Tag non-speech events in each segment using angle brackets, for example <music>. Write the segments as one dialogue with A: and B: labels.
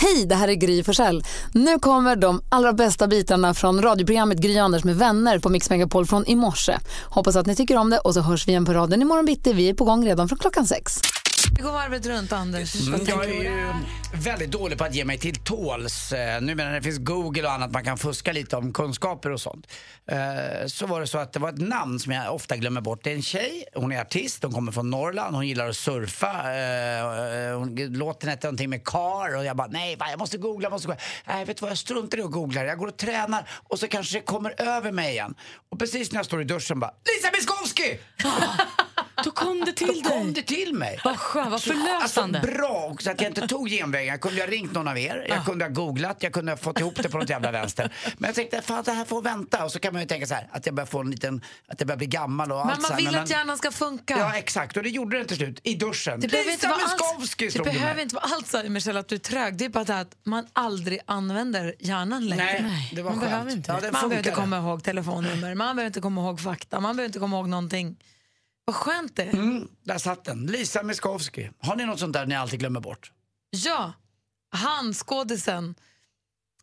A: Hej, det här är Gry Forssell. Nu kommer de allra bästa bitarna från radioprogrammet Gry Anders med vänner på Mix Megapol från i morse. Hoppas att ni tycker om det och så hörs vi igen på raden imorgon bitti. Vi är på gång redan från klockan sex.
B: Vi går varvet runt, Anders. Vad
C: Mm,
B: tänker
C: Jag
B: du?
C: är ju väldigt dålig på att ge mig till tåls. Eh, Nu medan det finns Google och annat, man kan fuska lite om kunskaper och sånt. Eh, Så var det så att det var ett namn som jag ofta glömmer bort. Det är en tjej, hon är artist, hon kommer från Norrland, hon gillar att surfa. Eh, Hon, låten hette någonting med kar och jag bara nej, va, jag måste googla, jag måste googla. Nej, vet du vad, jag struntar i att googla. Jag går och tränar och så kanske det kommer över mig igen. Och precis när jag står i duschen bara Lisa Miskovsky!
D: Då kom det till
C: Då kom
D: dig.
C: det till mig.
D: Vad skönt, vad förlösande.
C: Alltså bra också att jag inte tog genvägen. Jag kunde ha ringt någon av er, jag kunde ha googlat, jag kunde ha fått ihop det på något jävla vänster. Men jag tänkte, fan det här får vänta. Och så kan man ju tänka så här, att jag börjar få en liten, att jag börjar bli gammal och
B: Men
C: allt så
B: man
C: här.
B: vill att hjärnan ska funka.
C: Ja, exakt. Och det gjorde den till slut, i duschen.
B: Det behöver inte
C: Lisa
B: vara alls,
C: Miskovsky
B: det
C: slog det
B: behöver
C: mig.
B: inte vara alls Michelle, att du är trög. Det är bara det att man aldrig använder hjärnan längre.
C: Nej, det var
B: man
C: skönt.
B: behöver inte
C: Ja,
B: det.
C: den
B: Man behöver inte
C: funkade.
B: komma ihåg telefonnummer, man behöver inte komma ihåg fakta, man behöver inte komma ihåg någonting. Vad skönt det är.
C: Mm, där satt den. Lisa Miskovsky. Har ni något sånt där ni alltid glömmer bort?
B: Ja, han skådisen.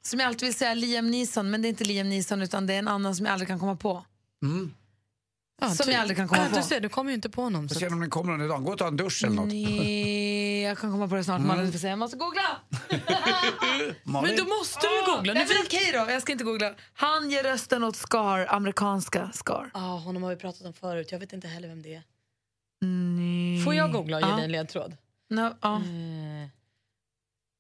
B: Som jag alltid vill säga Liam Neeson, men det är inte Liam Neeson utan det är en annan som jag aldrig kan komma på.
C: Mm.
D: Ja,
B: som
D: du-
B: jag aldrig kan komma
D: ja,
B: på.
D: Du ser, du kommer ju inte på någon.
C: Får
D: Så.
C: se om den kommer under dagen. Gå och ta en dusch eller något.
B: Nej, Eh, jag kan komma på det snart.
D: Mm.
B: Malin får säga, jag måste googla.
D: Men
C: Malin?
D: då måste du googla. Nu
B: Nej,
D: vill...
B: men okej då, jag ska inte googla. Han ger rösten åt Scar, amerikanska Scar.
D: ah, honom har vi pratat om förut. Jag vet inte heller vem det är.
B: Nej.
D: Får jag googla och ge
B: Ja.
D: dig en ledtråd?
B: No, ja.
D: Eh,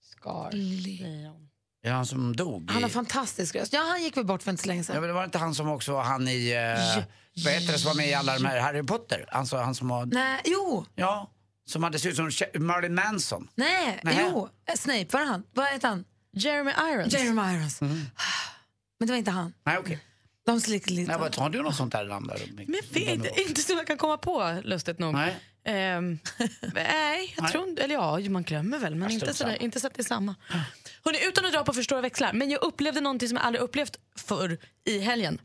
D: Scar.
B: Le-
D: säger hon.
C: Det är han som dog. i-
B: Han har fantastisk röst. Ja, han gick väl bort för inte så länge
C: Ja,
B: sedan.
C: men det var inte han som också var han i... Eh, vad heter det som var med i alla de här Harry Potter? Alltså han som var...
B: Nej, jo,
C: Ja, som hade sett ut som Ch- Marilyn Manson.
B: nej,
C: Nej.
B: jo. Eh, Snape, var det han? Vad heter han?
D: Jeremy Irons.
B: Jeremy Irons.
C: Mm.
B: Men det var inte han.
C: Nej, okej.
B: De slickade lite.
C: Nej, vad Har du något sånt där namn? där?
D: Men jag vet inte, inte som jag kan komma på, lustigt nog.
C: Nej.
D: <laughs> Ehm, nej, jag
C: Nej.
D: tror inte... Eller ja, man glömmer väl, men inte,
C: strunt
D: sådär,
C: samma.
D: inte så att det är samma. Hörrni, utan att dra på för stora växlar, men jag upplevde någonting som jag aldrig upplevt förr i helgen.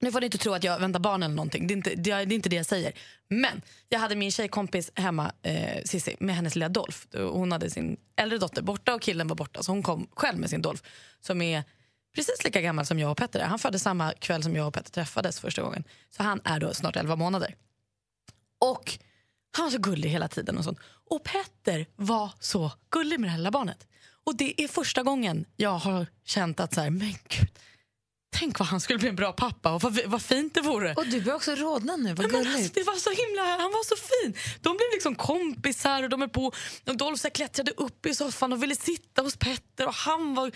D: Nu får ni inte tro att jag väntar barn eller någonting. Det är inte det, är det, är inte det jag säger. Men jag hade min tjejkompis hemma, eh, Sissi, med hennes lilla Dolph. Hon hade sin äldre dotter borta och killen var borta. Så hon kom själv med sin Dolph som är precis lika gammal som jag och Petter är. Han föddes samma kväll som jag och Petter träffades första gången. Så han är då snart 11 månader. Och han var så gullig hela tiden. Och sånt. Och Petter var så gullig med det här lilla barnet. Och det är första gången jag har känt att så här, men gud, tänk vad han skulle bli en bra pappa och vad, vad fint det vore.
B: Och du börjar också rodna nu, vad
D: Ja, Men alltså,
B: gulligt.
D: det var så himla, han var så fin. De blev liksom kompisar och de är på och Dolph så här klättrade upp i soffan och ville sitta hos Petter och han var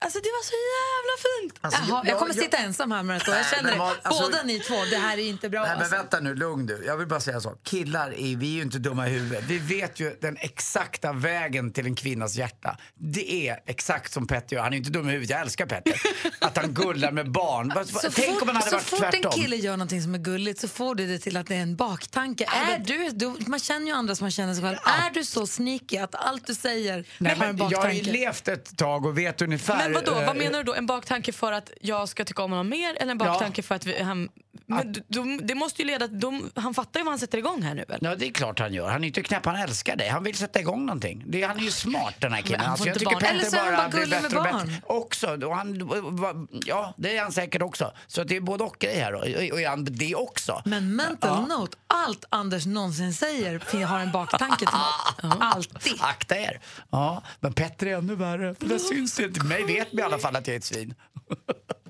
D: Alltså det var så jävla fint.
C: Alltså,
B: Jaha, jag kommer sitta ensam här med det och jag
C: Nej, men
B: känner det.
C: vad- alltså-
B: Båda ni två, det här är inte bra.
C: Nej men
B: alltså.
C: vänta nu, lugn du. Jag vill bara säga så. Killar, är, vi är ju inte dumma i huvudet. Vi vet ju den exakta vägen till en kvinnas hjärta. Det är exakt som Petter gör. Han är ju inte dum i huvudet, jag älskar
B: <laughs>
C: Petter. Att han gullar med barn. Vad-
B: Så
C: Tänk
B: fort,
C: om han hade
B: så
C: varit
B: fort
C: tvärtom.
B: en kille gör någonting som är gulligt så får du det till att det är en baktanke. är du, du, man känner ju andra som man känner sig själv. Är du så sneaky att allt du säger
C: Nej,
B: har en
C: men jag har ju
B: baktanke?
C: levt ett tag och vet ungefär...
D: Men vadå,
C: eh,
D: vad menar du då? En baktanke för att jag ska tycka om honom mer eller en baktanke för att vi, han... Men d- de, det måste ju leda till... De, han fattar ju vad han sätter igång här nu väl?
C: Ja, det är klart han gör. Han är inte knäpp, han älskar dig. Han vill sätta igång någonting. Det, han är ju smart den här killen.
D: han
C: Alltså,
D: får
C: jag
D: inte
C: tycker
D: barn.
C: Petter
B: Eller så är han bara
C: blir
B: gullig med
C: bättre och
B: barn.
C: bättre. Också. Och han, va- ja, det är han säkert också. Så att det är både och grej här då. Och- Och är han det också?
B: Men mental note, allt Anders någonsin säger fin- har en baktanke till
C: <laughs>
B: något. Alltid.
C: Akta er. Ja, men Petter är ännu värre. För det syns det inte. Mig vet vi i alla fall att jag är ett svin.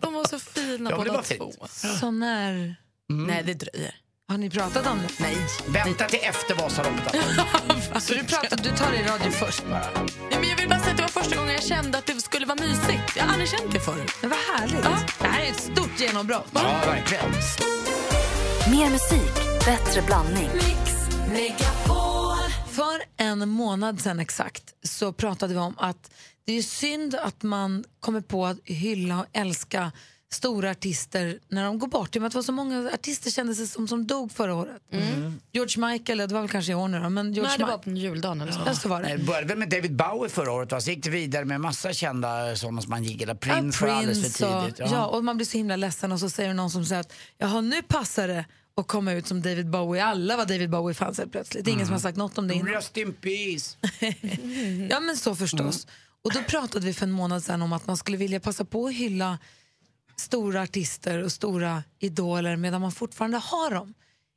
D: De var så fina
C: Ja, men det
D: båda
C: var
D: två.
B: Så när...
D: Nej, det dröjer.
B: Har ni pratat om det? Nej.
C: Vänta till efter Vasaloppet.
B: <laughs>
C: alltså.
B: Så du, pratar, du tar det i radio först bara?
D: Ja, men jag vill bara säga att det var första gången jag kände att det skulle vara mysigt. Jag har aldrig känt det förut.
B: Men vad härligt.
D: Ja.
B: Det här är ett stort genombrott.
C: Ja, verkligen.
E: Mer musik, bättre blandning.
B: För en månad sedan exakt så pratade vi om att det är synd att man kommer på att hylla och älska stora artister när de går bort. I och med att det var så många artister kändes det som, som dog förra året. George Michael, ja, det var väl kanske i år nu då, men George
D: Mm. Nej, det
B: Michael.
D: var på juldagen eller så.
B: Ja, så var
C: Det
B: det.
C: började väl med David Bowie förra året va? Så gick det vidare med massa kända sådana som man gillar.
B: Ja,
C: Prince var alldeles
B: Prince
C: för
B: och-
C: tidigt.
B: ja. och man blir så himla ledsen och så säger det någon som säger att Jaha, nu passar det att komma ut som David Bowie. Alla var David Bowie <laughs> fanns helt plötsligt. Det är ingen som har sagt något om det innan. <laughs>
C: Rest in peace.
D: Mm.
B: Ja men så förstås. Och då pratade vi för en månad sedan om att man skulle vilja passa på att hylla stora artister och stora idoler medan man fortfarande har dem.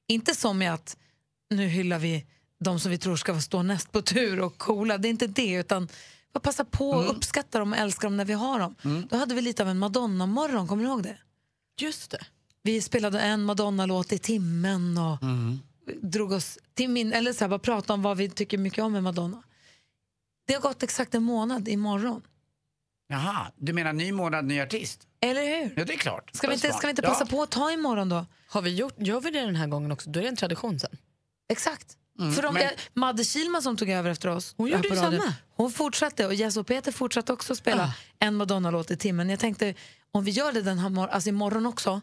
B: Inte som i att nu hyllar vi de som vi tror ska stå näst på tur och coola. Det är inte det, utan bara passa på
D: Mm.
B: och uppskatta dem och älska dem när vi har dem. Då hade vi lite av en Madonna-morgon, kommer du ihåg det?
D: Just det.
B: Vi spelade en Madonna-låt i timmen och
D: Mm.
B: drog oss till min, eller så här, bara pratade om vad vi tycker mycket om med Madonna. Det har gått exakt en månad imorgon,
C: Jaha, du menar ny månad, ny artist?
B: eller hur?
C: Ja, det är klart.
B: Ska vi inte, ska vi inte passa på att ta imorgon då?
D: Har vi gjort, gör vi det den här gången också? Då är det en tradition sen.
B: Exakt. För de,
C: men-
B: där- Madde Kilman som tog över efter oss.
D: Hon
B: här
D: gjorde
B: på
D: ju
B: radion,
D: samma.
B: Hon fortsatte och Jess och Peter fortsatte också spela
C: Ah.
B: en Madonna-låt i timmen. Jag tänkte, om vi gör det den här mor- alltså imorgon också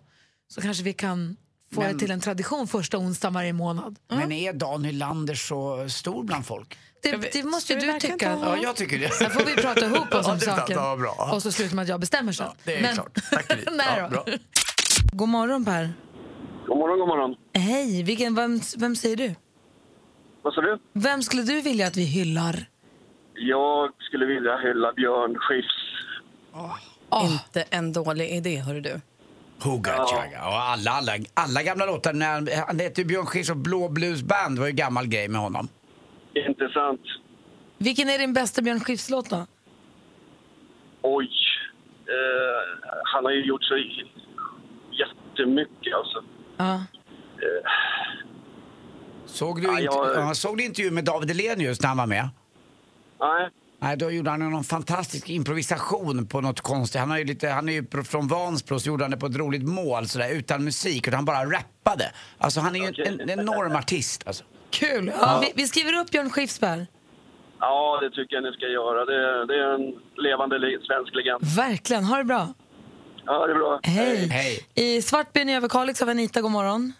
B: så kanske vi kan få det till en tradition första onsdagen varje månad.
C: Ja. Men är Dan Hylander så stor bland folk?
B: Det,
D: vi-
B: det måste
D: ska
B: ju
D: vi
B: du
D: verkligen
B: tycka.
D: ta-
C: Ja, jag tycker det.
B: Sen får vi prata ihop
C: <laughs>
B: oss
C: Ja,
B: om
C: det-
B: saken.
C: ja, bra.
B: Och så slutar med att jag bestämmer sen.
C: Det är klart. Tack
B: <laughs>
C: Gry.
B: Nej
C: Ja,
B: då.
C: bra.
B: God morgon Per.
F: God morgon, god morgon.
B: Hej, vilken, vem, vem säger du?
F: Vad sa du?
B: Vem skulle du vilja att vi hyllar?
F: Jag skulle vilja hylla Björn Skifs.
D: Inte en dålig idé, hörru du.
C: Who got you? Ja, alla, alla, alla gamla låtar. När han, han hette ju Björn Skifs och Blå Blues Band var ju gammal grej med honom.
F: Intressant.
B: Vilken är din bästa Björn Skifs-låt då?
F: Oj. Eh, han har ju gjort så j- jättemycket alltså. Eh,
B: Ja.
C: Såg du,
F: Ja,
C: inte,
F: jag-
C: ja, såg du intervju med David Hellenius när han var med?
F: Nej,
C: Nej, då gjorde han ju någon fantastisk improvisation på något konstigt. Han, har ju lite, han är ju pro- från Vansbro, så gjorde han det på ett roligt mål sådär, utan musik, utan han bara rappade. Alltså han är ju en, en enorm artist alltså.
B: Kul! Ja, Vi, vi skriver upp Björn Skifs Per.
F: ja det tycker jag ni ska göra. Det, det är en levande le- svensk legend.
B: Verkligen, ha det bra.
F: Ja, det är bra.
B: Hej!
C: Hej.
B: I Svartbyn i Överkalix har vi Anita, god morgon.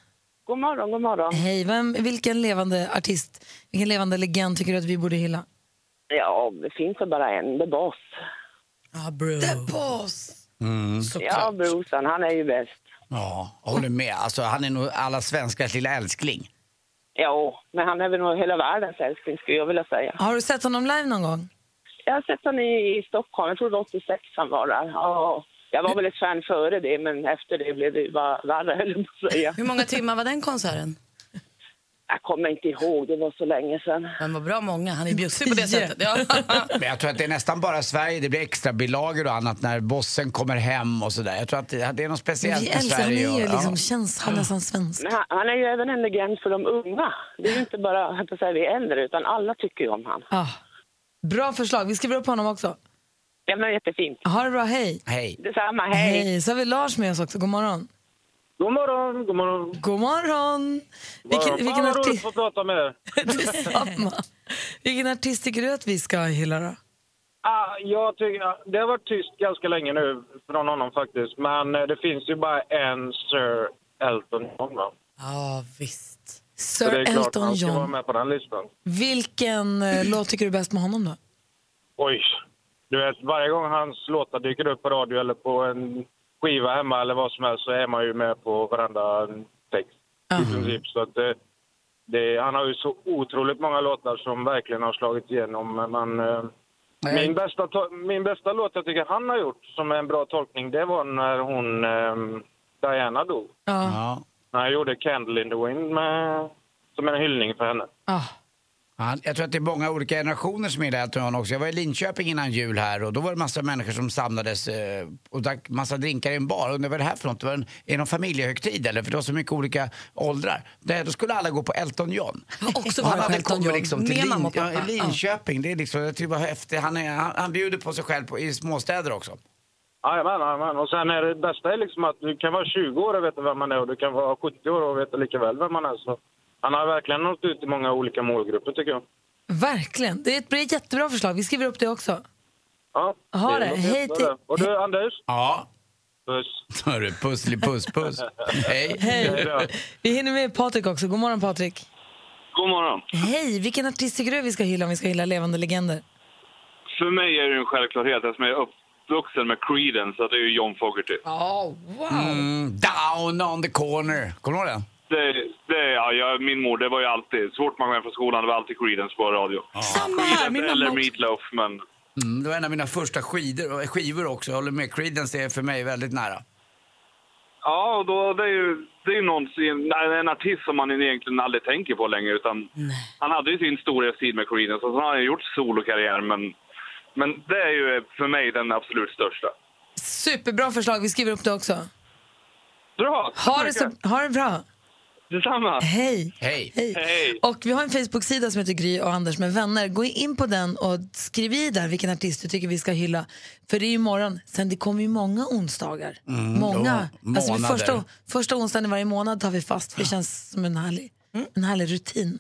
G: God morgon, god morgon.
B: Hej, vem, vilken levande artist, vilken levande legend tycker du att vi borde hylla?
G: Ja, det finns ju bara en, The Boss.
D: Ja, bro.
B: Boss!
G: Ja, Brusan, han är ju bäst.
C: Mm. Ja, jag håller med. Alltså han är nog alla svenskars lilla älskling.
G: Ja, men han är väl nog hela världens älskling skulle jag vilja säga.
B: Har du sett honom live någon gång?
G: Jag har sett honom i, i Stockholm, jag tror det var 86 han var där. Ja, jag var väl ett fan före det, men efter det blev det ju bara värre, <laughs> höll jag på att säga.
D: Hur många timmar var den konserten?
G: Jag kommer inte ihåg, det var så länge sedan.
D: Den var bra många. Han är bjussig på det
B: Tio.
D: sättet. Ja.
C: <laughs> Men jag tror att det är nästan bara Sverige, det blir extra bilagor och annat när bossen kommer hem och sådär. Jag tror att det, att det är något speciellt
B: Vi
C: med
B: älskar, han är
C: Sverige.
B: ju
C: och-
B: liksom,
C: ja.
B: känns han nästan svensk.
G: Men han, han är ju även en legend för de unga. Det är ju inte bara, jag höll på att säga, vi äldre, utan alla tycker ju om han.
B: Ah. Bra förslag, vi skriver upp honom också.
G: Ja, men jättefint.
B: Ha det bra, hej!
C: Hej.
G: Detsamma, hej!
B: så har vi Lars med oss också, god morgon.
H: God morgon, god morgon.
B: God morgon! Vilken,
H: Vilken,
B: vilken,
H: Fan vad roligt att
B: artist,
H: få prata
B: <laughs>
H: med er.
B: Detsamma. vilken artist tycker du att vi ska hylla då?
H: Ah, jag tycker, det har varit tyst ganska länge nu från honom faktiskt. Men eh, det finns ju bara en Sir Elton John. va?
D: ja, visst.
H: Så det
B: Sir
H: är klart
B: Elton
H: han ska vara
B: John.
H: med på den listan.
B: Vilken eh, låt tycker du är bäst med honom då?
H: Oj. Du vet, varje gång hans låtar dyker upp på radio eller på en skiva hemma eller vad som helst så är man ju med på varenda text i princip. Så att, eh, det, han har ju så otroligt många låtar som verkligen har slagit igenom. Men, eh,
C: Nej.
H: Min bästa, to- min bästa låt jag tycker han har gjort som är en bra tolkning det var när hon ehm, Diana dog.
B: Ja.
C: Ja.
H: När han gjorde Candle in the Wind med, som en hyllning för henne.
B: Ah.
C: Han, jag tror att det är många olika generationer som gillar Elton John också. Jag var i Linköping innan jul här och då var det massa människor som samlades eh, och drack massa drinkar i en bar. Undrar vad är det här för något? Det var en, är det någon familjehögtid eller? För det var så mycket olika åldrar. Nej, då skulle alla gå på Elton John.
D: Jag har <laughs> också
C: Och
D: varit på
C: hade
D: Elton
C: kommit
D: John.
C: liksom till
D: med
C: Lin,
D: mamma och pappa.
C: Ja, i Linköping. Det är liksom, jag tycker bara häftigt. Han, är, han, han bjuder på sig själv på, i småstäder också.
H: Jajamän, jajamän. Och sen är det bästa är liksom att du kan vara 20 år och veta vem man är och du kan vara 70 år och veta lika väl vem man är. Så han har verkligen nått ut till många olika målgrupper tycker jag.
B: Verkligen, det är ett, det är ett jättebra förslag. Vi skriver upp det också.
H: Ja,
B: Ha det.
H: låter
B: Hej
H: jättebra
B: till-
H: det. Och du Anders?
C: Ja.
H: Puss.
C: <laughs> Hörru, pussli puss
H: <laughs>
C: puss. Hej.
B: Hej!
H: då.
B: Vi hinner med Patrik också. God morgon Patrik.
I: God morgon.
B: Hej, vilken artist tycker du vi ska hylla om vi ska hylla levande legender?
I: För mig är det en självklarhet eftersom jag är uppvuxen med Creedence att det är ju John Fogerty.
C: Mm, down on the corner. Kommer du ihåg den?
I: Det, det, ja, jag, min mor, det var ju alltid, så fort man kom hem från skolan, det var alltid Creedence på radio.
D: Samma här, min
I: Eller
D: mamma också.
I: Meatloaf, men
C: Mm, det var en av mina första skidor, och- skivor också. Jag håller med, Creedence är för mig väldigt nära.
I: Ja, och då, det är ju det är ju någonsin, en artist som man egentligen aldrig tänker på längre. Utan han hade ju sin storhetstid med Creedence och så har han ju gjort solokarriär. Men, men det är ju för mig den absolut största.
B: Superbra förslag, vi skriver upp det också.
I: Bra!
B: Ha det, så, ha det bra.
I: Detsamma!
B: Hej.
C: Hej!
I: Hej!
B: Och vi har en Facebook-sida som heter Gry och Anders med vänner. Gå in på den och skriv i där vilken artist du tycker vi ska hylla. För det är ju imorgon. Sen det kommer ju många onsdagar. många.
C: Mm, ja,
B: Alltså vid
C: månader.
B: första, första onsdagen i varje månad tar vi fast för det känns som en härlig,
I: Mm.
B: en härlig rutin.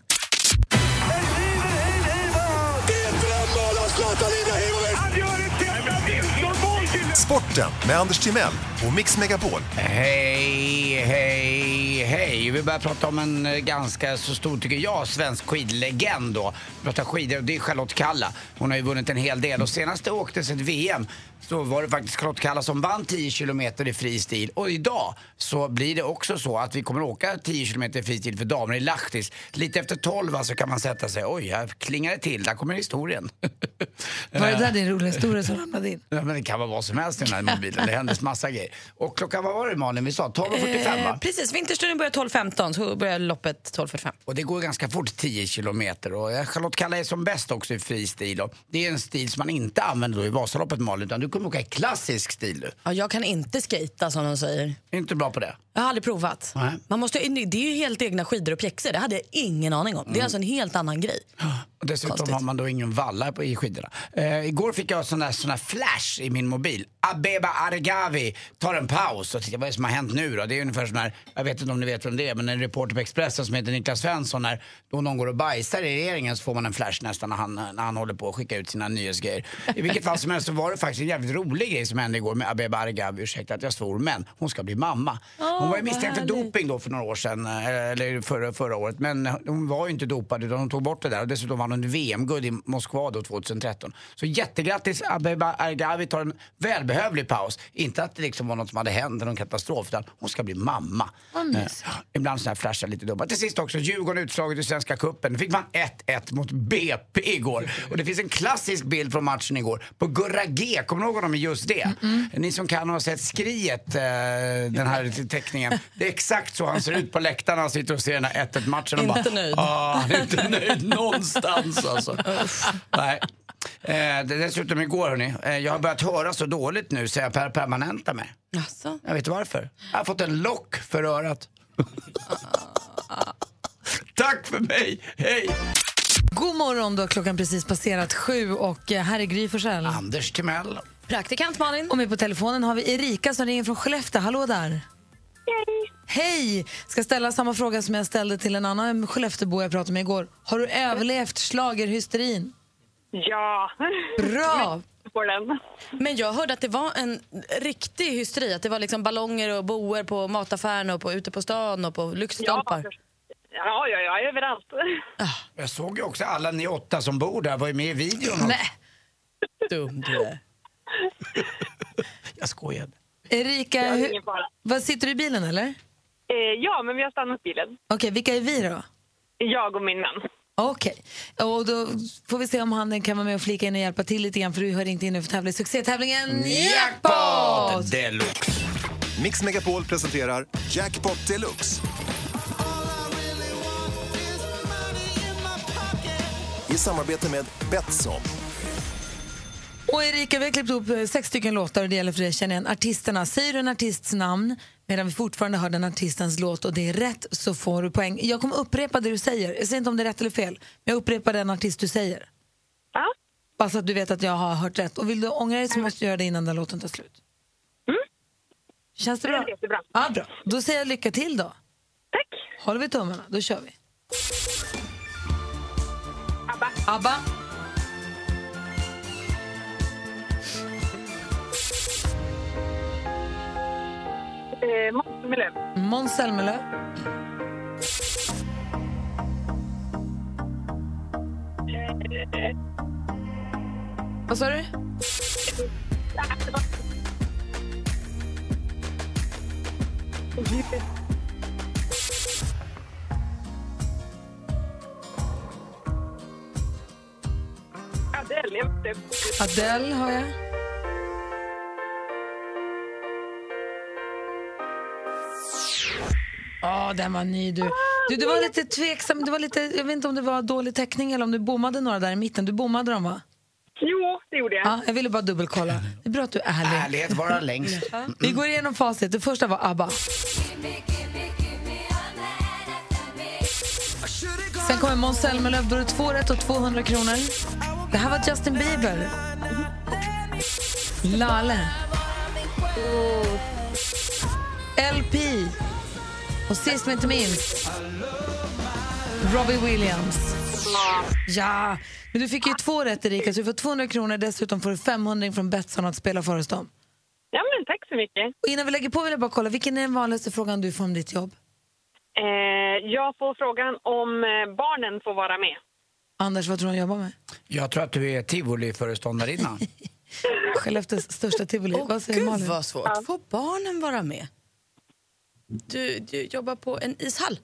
J: Sporten med Anders Timell och Mix Megapol.
C: Hej, hej, hej. Vi börjar prata om en eh, ganska så stor, tycker jag, svensk skidlegend då. Vi pratar skidor och det är Charlotte Kalla. Hon har ju vunnit en hel del och senast det åktes ett VM så var det faktiskt Charlotte Kalla som vann 10 kilometer i fri stil. Och idag så blir det också så att vi kommer åka 10 kilometer i fri stil för damer i Lahtis. Lite efter 12 alltså kan man sätta sig. Oj, här klingar det till. Där kommer historien. <laughs>
B: Var
C: Eh.
B: det där din roliga historia som ramlade in?
C: Ja, men det kan vara vad som helst i den här mobilen. Det händer massa grejer. Och klockan, vad var det Malin vi sa? 12.45 va?
D: Eh, precis, vinterstudion börjar 12.15 så börjar loppet 12.45.
C: Och det går ganska fort, 10 kilometer. Och eh, Charlotte Kalla är som bäst också i fristil. Och Det är en stil som man inte använder då i Vasaloppet Malin, utan du kommer åka i klassisk stil du.
D: Ja, jag kan inte skata som de säger.
C: Är inte bra på det.
D: Jag har aldrig provat.
C: Nej.
D: Man måste, det är ju helt egna skidor och pjäxor. Det hade jag ingen aning om. Det är
C: Mm.
D: alltså en helt annan grej.
C: Och dessutom
D: Konstigt.
C: har man då ingen valla på, i skidorna. Eh, igår fick jag sån där, sån där flash i min mobil. Abeba Argawi tar en paus och tittar vad är det som har hänt nu då? Det är ungefär sån här, jag vet inte om ni vet vem det är, men en reporter på Expressen som heter Niklas Svensson. När då någon går och bajsar i regeringen så får man en flash nästan när han, när han håller på att skicka ut sina nyhetsgrejer. I vilket fall som helst så var det faktiskt en jävligt rolig grej som hände igår med Abeba Argawi. Ursäkta att jag svor, men hon ska bli mamma. hon var ju misstänkt för doping då för några år sedan, eh, eller förra, förra året. Men hon var ju inte dopad utan hon tog bort det där. Och dessutom vann hon VM-guld i Moskva då 2013. Så jättegrattis Abeba Argawi tar en välbehövlig paus. Inte att det liksom var något som hade hänt, någon katastrof, utan hon ska bli mamma. Eh, ibland sådana här flashar lite dumma. Till sist också, Djurgården utslaget i Svenska Cupen. Nu fick man 1-1 mot BP igår. Och det finns en klassisk bild från matchen igår på Gurra G. Kommer ni ihåg honom i just det? Ni som kan har sett skriet, eh, den
D: <laughs>
C: här teckningen. Det är exakt så han ser ut på läktaren när han sitter och ser den här 1-1-matchen. Och
D: Inte
C: bara,
D: nöjd.
C: "Ah, han är
D: <laughs>
C: inte nöjd någonstans alltså. Nej. Eh, det- dessutom igår hörni, eh, jag har börjat höra så dåligt nu så jag per permanentar mig.
D: Alltså.
C: Jag vet varför. Jag har fått en lock för örat. Tack för mig, hej!
B: God morgon, då har klockan precis passerat sju och eh, här är Gry Forssell.
C: Anders Timell.
D: Praktikant Malin.
B: Och med på telefonen har vi Erika som ringer från Skellefteå. Hallå där! Hej! Hej! Ska ställa samma fråga som jag ställde till en annan Skelleftebo jag pratade med igår. Har du överlevt schlagerhysterin?
K: Ja,
B: Bra!
K: på den.
D: Men jag hörde att det var en riktig hysteri. Att det var liksom ballonger och boer på mataffären och på, ute på stan och på lyktstolpar.
K: Ja, ja, ja, överallt.
C: Jag såg ju också alla ni åtta som bor där var ju med i videon.
D: Nej. Dum du är.
C: Jag skojade.
B: Erika,
K: Ja, det är
B: hur-
K: ingen fara.
B: vad, sitter du i bilen eller? Okej,
K: Eh, ja, men vi har stannat bilen.
B: vilka är vi då?
K: Jag och min man.
B: Okej, och då får vi se om han kan vara med och flika in och hjälpa till lite grann för du har ringt in nu för tävling. succétävlingen Jackpot!
C: Jackpot deluxe!
J: Mix Megapol presenterar Jackpot Deluxe. I samarbete med Betsson.
B: Och Erika, vi har klippt upp eh, sex stycken låtar och det gäller för dig att känna igen artisterna. Säger du en artists namn medan vi fortfarande hör den artistens låt och det är rätt så får du poäng. Jag kommer upprepa det du säger. Jag säger inte om det är rätt eller fel, men jag upprepar den artist du säger.
K: Ja,
B: Bara så att du vet att jag har hört rätt. Och vill du ångra dig så måste du göra det innan den låten tar slut. Känns det bra?
K: Mm. det är jättebra.
B: Ja, bra. Då säger jag lycka till då.
K: Tack.
B: Håller vi tummarna? Då kör vi.
K: Abba.
B: ABBA.
K: Eh, Måns Zelmerlöw.
B: Måns Zelmerlöw.
K: Eh,
B: Vad sa du?
K: Adele. jag vet inte.
B: Adele har jag. Ja, den var ny du. du. Du var lite tveksam, du var lite, jag vet inte om det var dålig täckning eller om du bommade några där i mitten. Du bommade dem va?
K: Jo, det gjorde jag.
B: Ja, jag ville bara dubbelkolla. Det är bra att du är ärlig.
C: Ärlighet vara längst.
B: Vi går igenom facit. Det första var ABBA. Sen kommer Måns Zelmerlöw. Då är det två rätt och 200 kronor. Det här var Justin Bieber. Lale. LP. Och sist men inte minst, Robbie Williams. Ja, men du fick ju två rätt Erika, så du får 200 kronor. Dessutom får du 500 från Betsson att spela för oss dem.
K: Ja, men tack så mycket.
B: Och innan vi lägger på vill jag bara kolla, vilken är den vanligaste frågan du får om ditt jobb?
K: Eh, jag får frågan om eh, barnen får vara med.
B: Anders, vad tror du hon jobbar med?
C: Jag tror att du är tivoliföreståndarinna.
B: Skellefteås största tivoli. vad säger
D: Gud
B: Malin?
D: vad svårt. Får barnen vara med? Du, du jobbar på en ishall.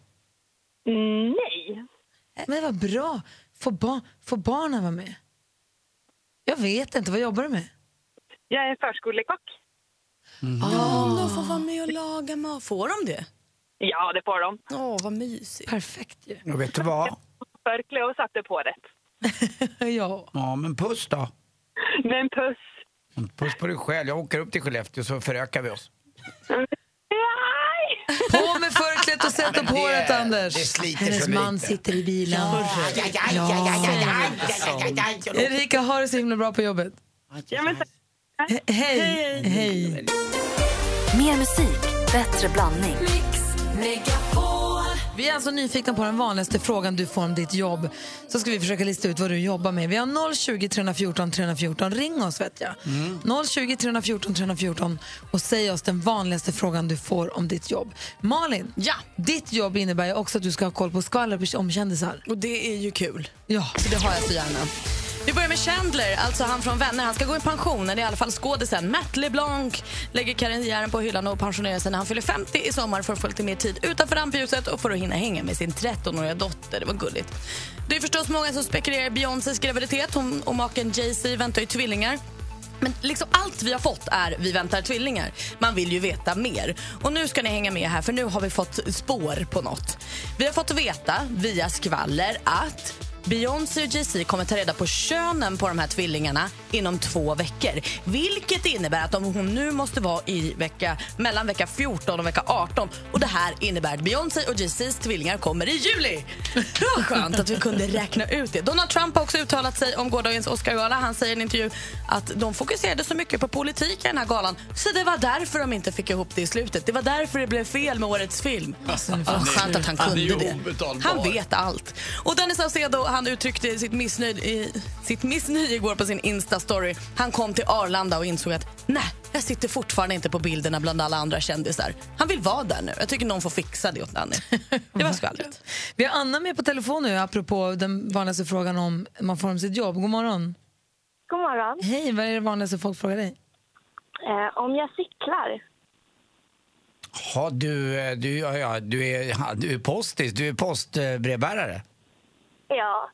K: Nej.
B: Men vad bra! Får, ba- får barnen vara med? Jag vet inte, vad jobbar du med?
K: Jag är förskolekock.
B: Mm. Ah.
D: Om de får vara med och laga mat. Får de det?
K: Ja, det får de.
D: Åh, vad mysigt.
B: Perfekt ju.
C: Och vet du vad?
K: Förkle och satte på
D: <laughs>
K: det.
B: ja.
C: Ja, men puss då.
K: Men puss.
C: Puss på dig själv. Jag åker upp till Skellefteå så förökar vi oss.
K: Nej!
B: På med förklädet och sätt upp
C: det-
B: håret, Anders!
C: det sliter
B: Hennes
C: så
B: man
C: lite.
B: sitter i bilen. Erika, har det så himla bra på jobbet.
K: Ja, men, tack.
B: He- hej! hej.
E: Mer musik, bättre blandning.
B: Vi är alltså nyfikna på den vanligaste frågan du får om ditt jobb. Så ska vi försöka lista ut vad du jobbar med. Vi har 020 314 314. Ring oss vet jag.
K: Mm.
B: 020 314 314 och säg oss den vanligaste frågan du får om ditt jobb. Malin,
D: Ja.
B: ditt jobb innebär ju också att du ska ha koll på skvaller om kändisar.
D: Och det är ju kul.
B: Ja.
D: Så det har jag så gärna. Vi börjar med Chandler, alltså han från Vänner. Han ska gå i pension, eller i alla fall skådisen. Matt LeBlanc lägger karriären på hyllan och pensionerar sig när han fyller 50 i sommar för att få lite mer tid utanför rampljuset och för att hinna hänga med sin 13-åriga dotter. Det var gulligt. Det är förstås många som spekulerar i Beyoncés graviditet. Hon och maken Jay-Z väntar ju tvillingar. Men liksom allt vi har fått är vi väntar tvillingar. Man vill ju veta mer. Och nu ska ni hänga med här för nu har vi fått spår på något. Vi har fått veta via skvaller att Beyoncé och Jay-Z kommer ta reda på könen på de här tvillingarna inom två veckor. Vilket innebär att de, hon nu måste vara i vecka, mellan vecka 14 och vecka 18. Och det här innebär att Beyoncé och Jay-Zs tvillingar kommer i
C: <laughs>
D: juli. Ja, skönt att vi kunde räkna ut det. Donald Trump har också uttalat sig om gårdagens Oscar-gala. Han säger i en intervju att de fokuserade så mycket på politik i den här galan så det var därför de inte fick ihop det i slutet. Det var därför det blev fel med årets film. Vad skönt att han
C: Alltså, han är ju
D: kunde det.
C: obetalbar.
D: Han vet allt. Och Dennis Saucedo han uttryckte sitt missnöje, i- sitt missnöje igår på sin Insta-story. Han kom till Arlanda och insåg att nej, jag sitter fortfarande inte på bilderna bland alla andra kändisar. Han vill vara där nu. Jag tycker någon får fixa det åt Danny. Det var skvallret.
B: Vi har Anna med på telefon nu apropå den vanligaste frågan om man får om sitt jobb. God morgon.
L: God morgon.
B: Hej, vad är det vanligaste folk frågar dig?
L: Eh, om jag cyklar?
C: Ja, du, eh, du, ja, ja, du, är, ja, du är postis, du är postbrevbärare.
L: Ja.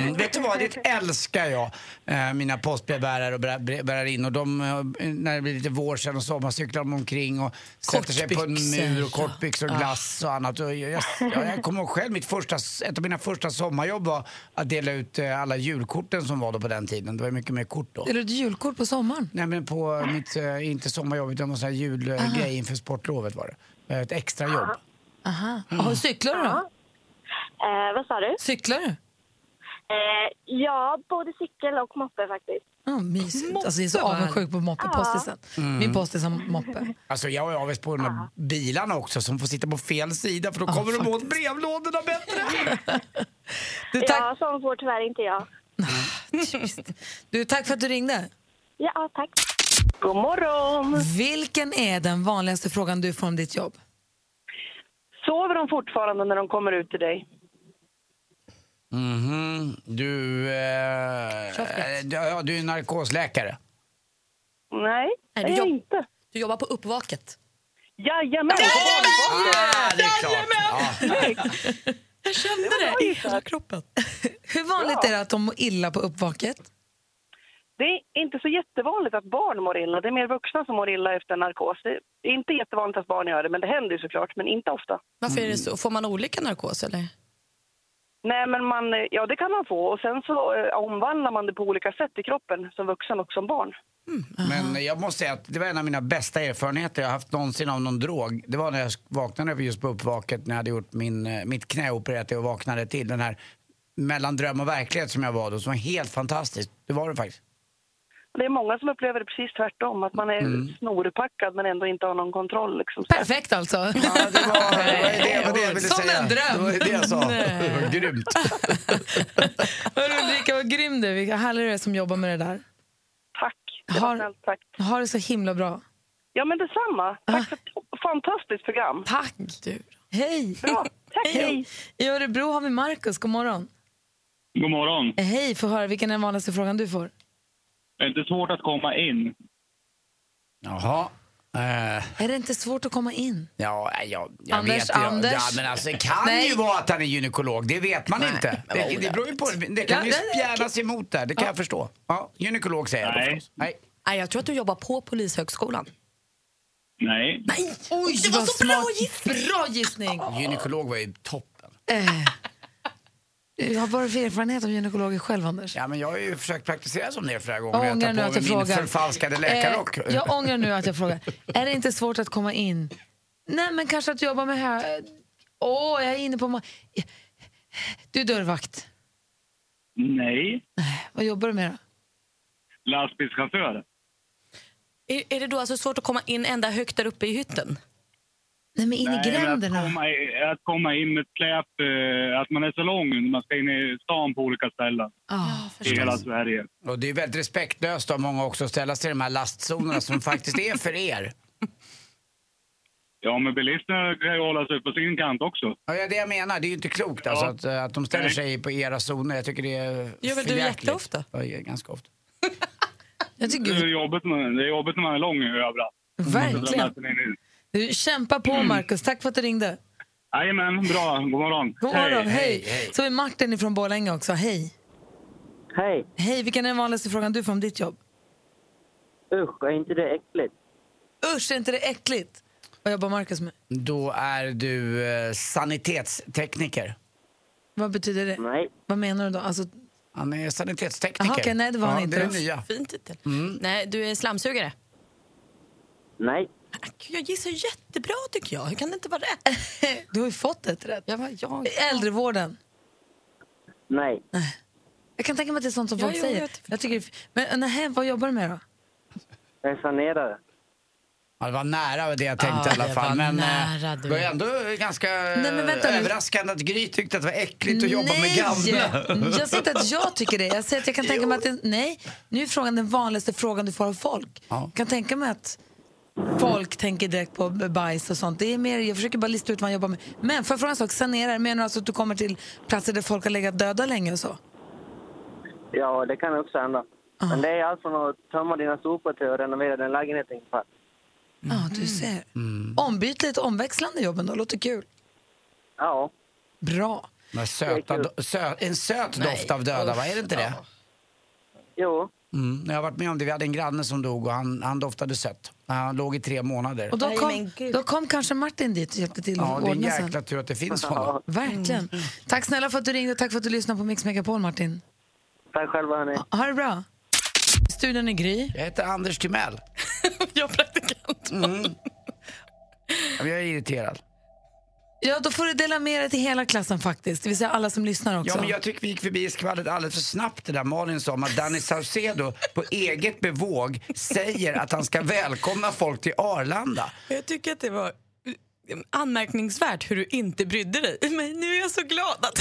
C: Mm, vet du vad, det älskar jag. Eh, mina postbrevbärare och brevbärarinnor. De, eh, när det blir lite vår sen och sommar cyklar de omkring och sätter sig på en
D: Kortbyxor,
C: mur och
D: ja.
C: kortbyxor och glass och annat. Och jag, jag, jag kommer ihåg själv, mitt första, ett av mina första sommarjobb var att dela ut eh, alla julkorten som var då på den tiden. Det var ju mycket mer kort då.
B: Eller ett julkort på sommaren?
C: Nej men på mitt, eh, inte sommarjobb utan någon sån här julgrej inför sportlovet var det. Eh, Ett extrajobb.
B: Aha. Och cyklar du då?
L: Eh, vad sa du?
B: Cyklar du?
L: Eh, ja, både cykel och moppe faktiskt.
B: Ja, mysigt. alltså, jag är så
D: Moppe, va?
B: avundsjuk på moppepostisen.
D: Mm.
B: Min postis har moppe.
C: Alltså jag är avis på de där bilarna också som får sitta på fel sida för då kommer de åt brevlådorna bättre.
B: Du,
L: Ja,
B: tack, Ah,
L: sån får tyvärr inte jag.
B: du, tack för att du ringde.
L: Ja, tack. God morgon.
B: Vilken är den vanligaste frågan du får om ditt jobb?
K: Sover de fortfarande när de kommer ut till dig?
C: Mhm, du, eh,
D: Köpet.
C: du, ja, du är narkosläkare.
K: <laughs> Nej, det
D: du
K: är jag
D: jobb-
K: inte.
D: Du jobbar på uppvaket.
K: Jajamän!
C: Ah, det är klart. Ja.
D: Jag kände det i hela kroppen.
B: Hur vanligt är det att de mår illa på uppvaket?
M: Det är inte så jättevanligt att barn mår illa. Det är mer vuxna som mår illa efter narkos. Det är inte jättevanligt att barn gör det, men det händer ju såklart. Men inte ofta.
D: Varför är det så? Får man olika narkos eller?
M: Nej, men man, ja, det kan man få. Och sen så eh, omvandlar man det på olika sätt i kroppen, som vuxen och som barn.
C: Men jag måste säga att det var en av mina bästa erfarenheter jag haft någonsin av någon drog. Det var när jag vaknade upp just på uppvaket när jag hade gjort min, eh, mitt knä opererat och vaknade till. Den här mellan dröm och verklighet som jag var då, som var helt fantastiskt. Det var det faktiskt.
M: Det är många som upplever det precis tvärtom, att man är snorpackad men ändå inte har någon kontroll. Liksom.
B: Perfekt alltså! Ja,
C: det
B: <laughs>
C: var det, var det jag ville
B: Som
C: säga.
B: en dröm!
C: Det var ju det jag sa.
B: Nej.
C: Det var grymt.
B: Hörru Ulrika, vad grym du är. Vilka härliga du är som jobbar med det där. Tack. Har, har det så himla bra. Ah.
M: Ja, men detsamma. Tack för ett fantastiskt program.
B: Tack. Du. Hej!
M: Bra. Tack,
B: hej. I Örebro har vi Markus. God morgon.
N: God morgon.
B: Hej, får höra vilken är den vanligaste frågan du får.
N: Det är inte svårt att komma in.
C: Jaha. Eh,
B: Är det inte svårt att komma in?
C: ja, nej, jag, jag
B: Anders,
C: vet jag,
B: Anders.
C: Ja, men alltså, det kan
B: Nej.
C: ju vara att han är gynekolog, det vet man
B: Nej,
C: inte.
B: men vad
C: Det, det beror ju på, det kan ju
D: Ja, nej, nej.
C: spjärnas emot där, det kan jag förstå. Ja, gynekolog säger jag då förstås. Nej.
D: Nej, jag tror att du jobbar på Polishögskolan.
N: Nej.
D: Nej!
B: Oj,
D: det var
B: vad
D: så
B: smart.
D: bra gissning!
B: Bra gissning!
C: Gynekolog var ju toppen.
B: Eh. Du har bara för erfarenhet av gynekologer själv, Anders.
C: Ja, men jag har ju försökt praktisera som det flera gånger.
B: Jag
C: Jag
B: ångrar nu
C: tar
B: att
C: på
B: jag
C: mig min
B: frågar.
C: förfalskade läkarrock.
B: Eh, jag ångrar nu att jag frågar. Är det inte svårt att komma in? Nej, men kanske att jobba med här. Åh, jag är inne på... ma- Du är dörrvakt.
N: Nej.
B: Vad jobbar du med då?
N: Lastbilschaufför.
D: Är, är det då alltså svårt att komma in ända högt där uppe i hytten?
B: Nej, men in
N: Nej, men Att komma, i- att komma in med släp, eh, att man är så lång när man ska in i stan på olika ställen.
B: Ah,
N: I hela Sverige.
C: Och det är väldigt respektlöst av många också att ställa sig i de här lastzonerna
B: <laughs>
C: som faktiskt är för er.
N: Ja, men bilisterna kan ju hålla sig på sin kant också.
C: Ja, det är det jag menar. Det är ju inte klokt alltså, att, eh, att de ställer sig på era zoner. Jag tycker det är
N: Gör väl du
C: förjäkligt.
N: jätteofta?
C: Ja, jag- ganska ofta.
N: Det är jobbigt när man- det är jobbigt när man är lång överallt.
B: Verkligen. Du, kämpa på, Markus. Tack för att du ringde.
N: Jajamän, bra. God morgon.
B: God morgon, hej. Så är Martin från Borlänge också. Hej.
O: Hej.
B: Hej, vilken är den vanligaste frågan du får om ditt jobb?
O: Usch, är inte det äckligt?
B: Usch, är inte det äckligt? Vad jobbar Markus med?
C: Då är du eh, sanitetstekniker.
B: Vad betyder det?
O: Nej.
B: Vad menar du då? Alltså...
C: Han är sanitetstekniker.
B: Aha, okej, nej, det var han
C: ja,
B: inte.
C: Det är det nya.
D: Fin titel. typ. Nej, du är slamsugare.
O: Nej.
D: Jag gissar jättebra tycker jag. Hur kan det inte vara rätt?
B: <laughs> Du har ju fått ett rätt.
D: Jag var, jag,
B: Äldrevården.
O: Nej.
B: Jag kan tänka mig att det är sånt som
D: Ja,
B: folk
D: jo,
B: säger.
D: jag
B: Jag tycker det är f- men nej, vad jobbar du med då?
O: Jag är sanerare.
C: Ja, det var nära det jag tänkte
O: Ja,
C: i alla
O: det
C: fall.
O: var
C: Men eh,
O: nära, du.
C: det var ändå ganska
B: Nej, men vänta nu.
C: överraskande att Gry tyckte att det var äckligt att jobba med gamla.
B: Mm, Jag säger inte att jag tycker det. Jag säger att
C: <laughs>
B: jag kan tänka mig att det, nej, nu är frågan den vanligaste frågan du får av folk. Jag kan tänka mig att folk tänker direkt på b- bajs och sånt. Det är mer, jag försöker bara lista ut vad han jobbar med. Men för att fråga en sak, sanerar, menar du alltså att du kommer till platser där folk har legat döda länge och så?
O: Ja, det kan också hända. Men det är allt från att tömma dina sopor till att renovera din lägenhet ungefär.
B: Ja,
C: Mm.
B: du ser. Ombytligt, omväxlande jobb ändå, låter kul.
O: Ja.
B: Bra.
C: Men söta, do- sö, en söt
O: Nej,
C: doft av döda,
O: usch,
C: va? Är det inte det?
O: Jo.
C: Mm, jag har varit med om det. Vi hade en granne som dog och han, han doftade sött. Han låg i tre månader.
B: Och då kom, då kom kanske Martin dit och hjälpte till
C: ja,
B: att
C: det är en
B: ordna sen.
C: jäkla tur att det finns honom.
B: Verkligen. Tack snälla för att du ringde och tack för att du lyssnade på Mix Megapol, Martin.
O: Tack själva, hörni.
B: Ha det bra. Studion är Gry.
C: Jag heter Anders
D: <laughs>
C: Timell. jag är praktikant. Mm. Ja, men Jag är irriterad.
B: Ja, då får du dela med dig till hela klassen faktiskt. Det vill säga alla som lyssnar också.
C: Ja, men jag tycker vi gick förbi skvallret alldeles för snabbt det där Malin sa om att Danny Saucedo på eget bevåg säger att han ska välkomna folk till Arlanda.
D: jag tycker att det var eh, anmärkningsvärt hur du inte brydde dig. <laughs> Men nu är jag så glad att...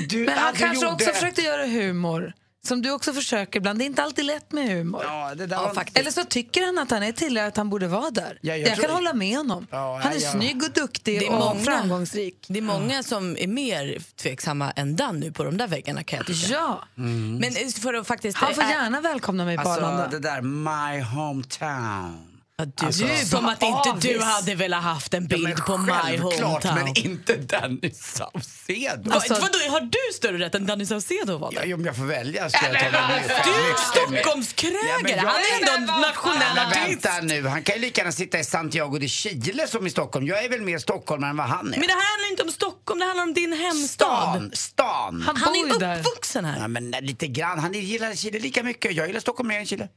C: Du, du,
B: Men han
C: att du
B: kanske
C: gjorde-
B: också försökte göra humor. Som du också försöker ibland. Det är inte alltid lätt med humor.
C: Ja, det där
B: Ja,
C: var-
B: faktiskt. Eller så tycker han att han är tillräckligt att han borde vara där.
D: Ja, jag
B: jag
D: tror-
B: kan hålla med honom. han är snygg och duktig
D: Det är
B: och
D: många-
B: framgångsrik. Mm.
D: Det är många som är mer tveksamma än Dan nu på de där väggarna kan jag tycka.
B: Ja.
C: Mm.
D: Men eh, för att faktiskt...
B: Han får
D: eh,
B: gärna välkomna mig på
C: Alltså
B: Arlanda.
C: det där My Hometown. Alltså,
D: Du, som att inte du hade velat haft en bild på My
C: Självklart,
D: Hometown.
C: men inte Danny Saucedo.
D: Alltså, vadå, har du större rätt än Danny Saucedo var det?
C: Ja, om jag får välja
D: ska
C: jag ta den här.
D: Du är
C: Mycket
D: en Stockholmskrögare, han är ändå en nationell
C: Men
D: artist.
C: Vänta nu, han kan ju lika gärna sitta i Santiago de Chile som i Stockholm. Jag är väl mer stockholmare än vad han är.
D: Men det här handlar inte om Stockholm, det handlar om din hemstad.
C: Stan, stan.
D: Han Han är bor ju där. uppvuxen här.
C: Ja, men lite grann. Han gillar Chile lika mycket. Jag gillar Stockholm mer än Chile.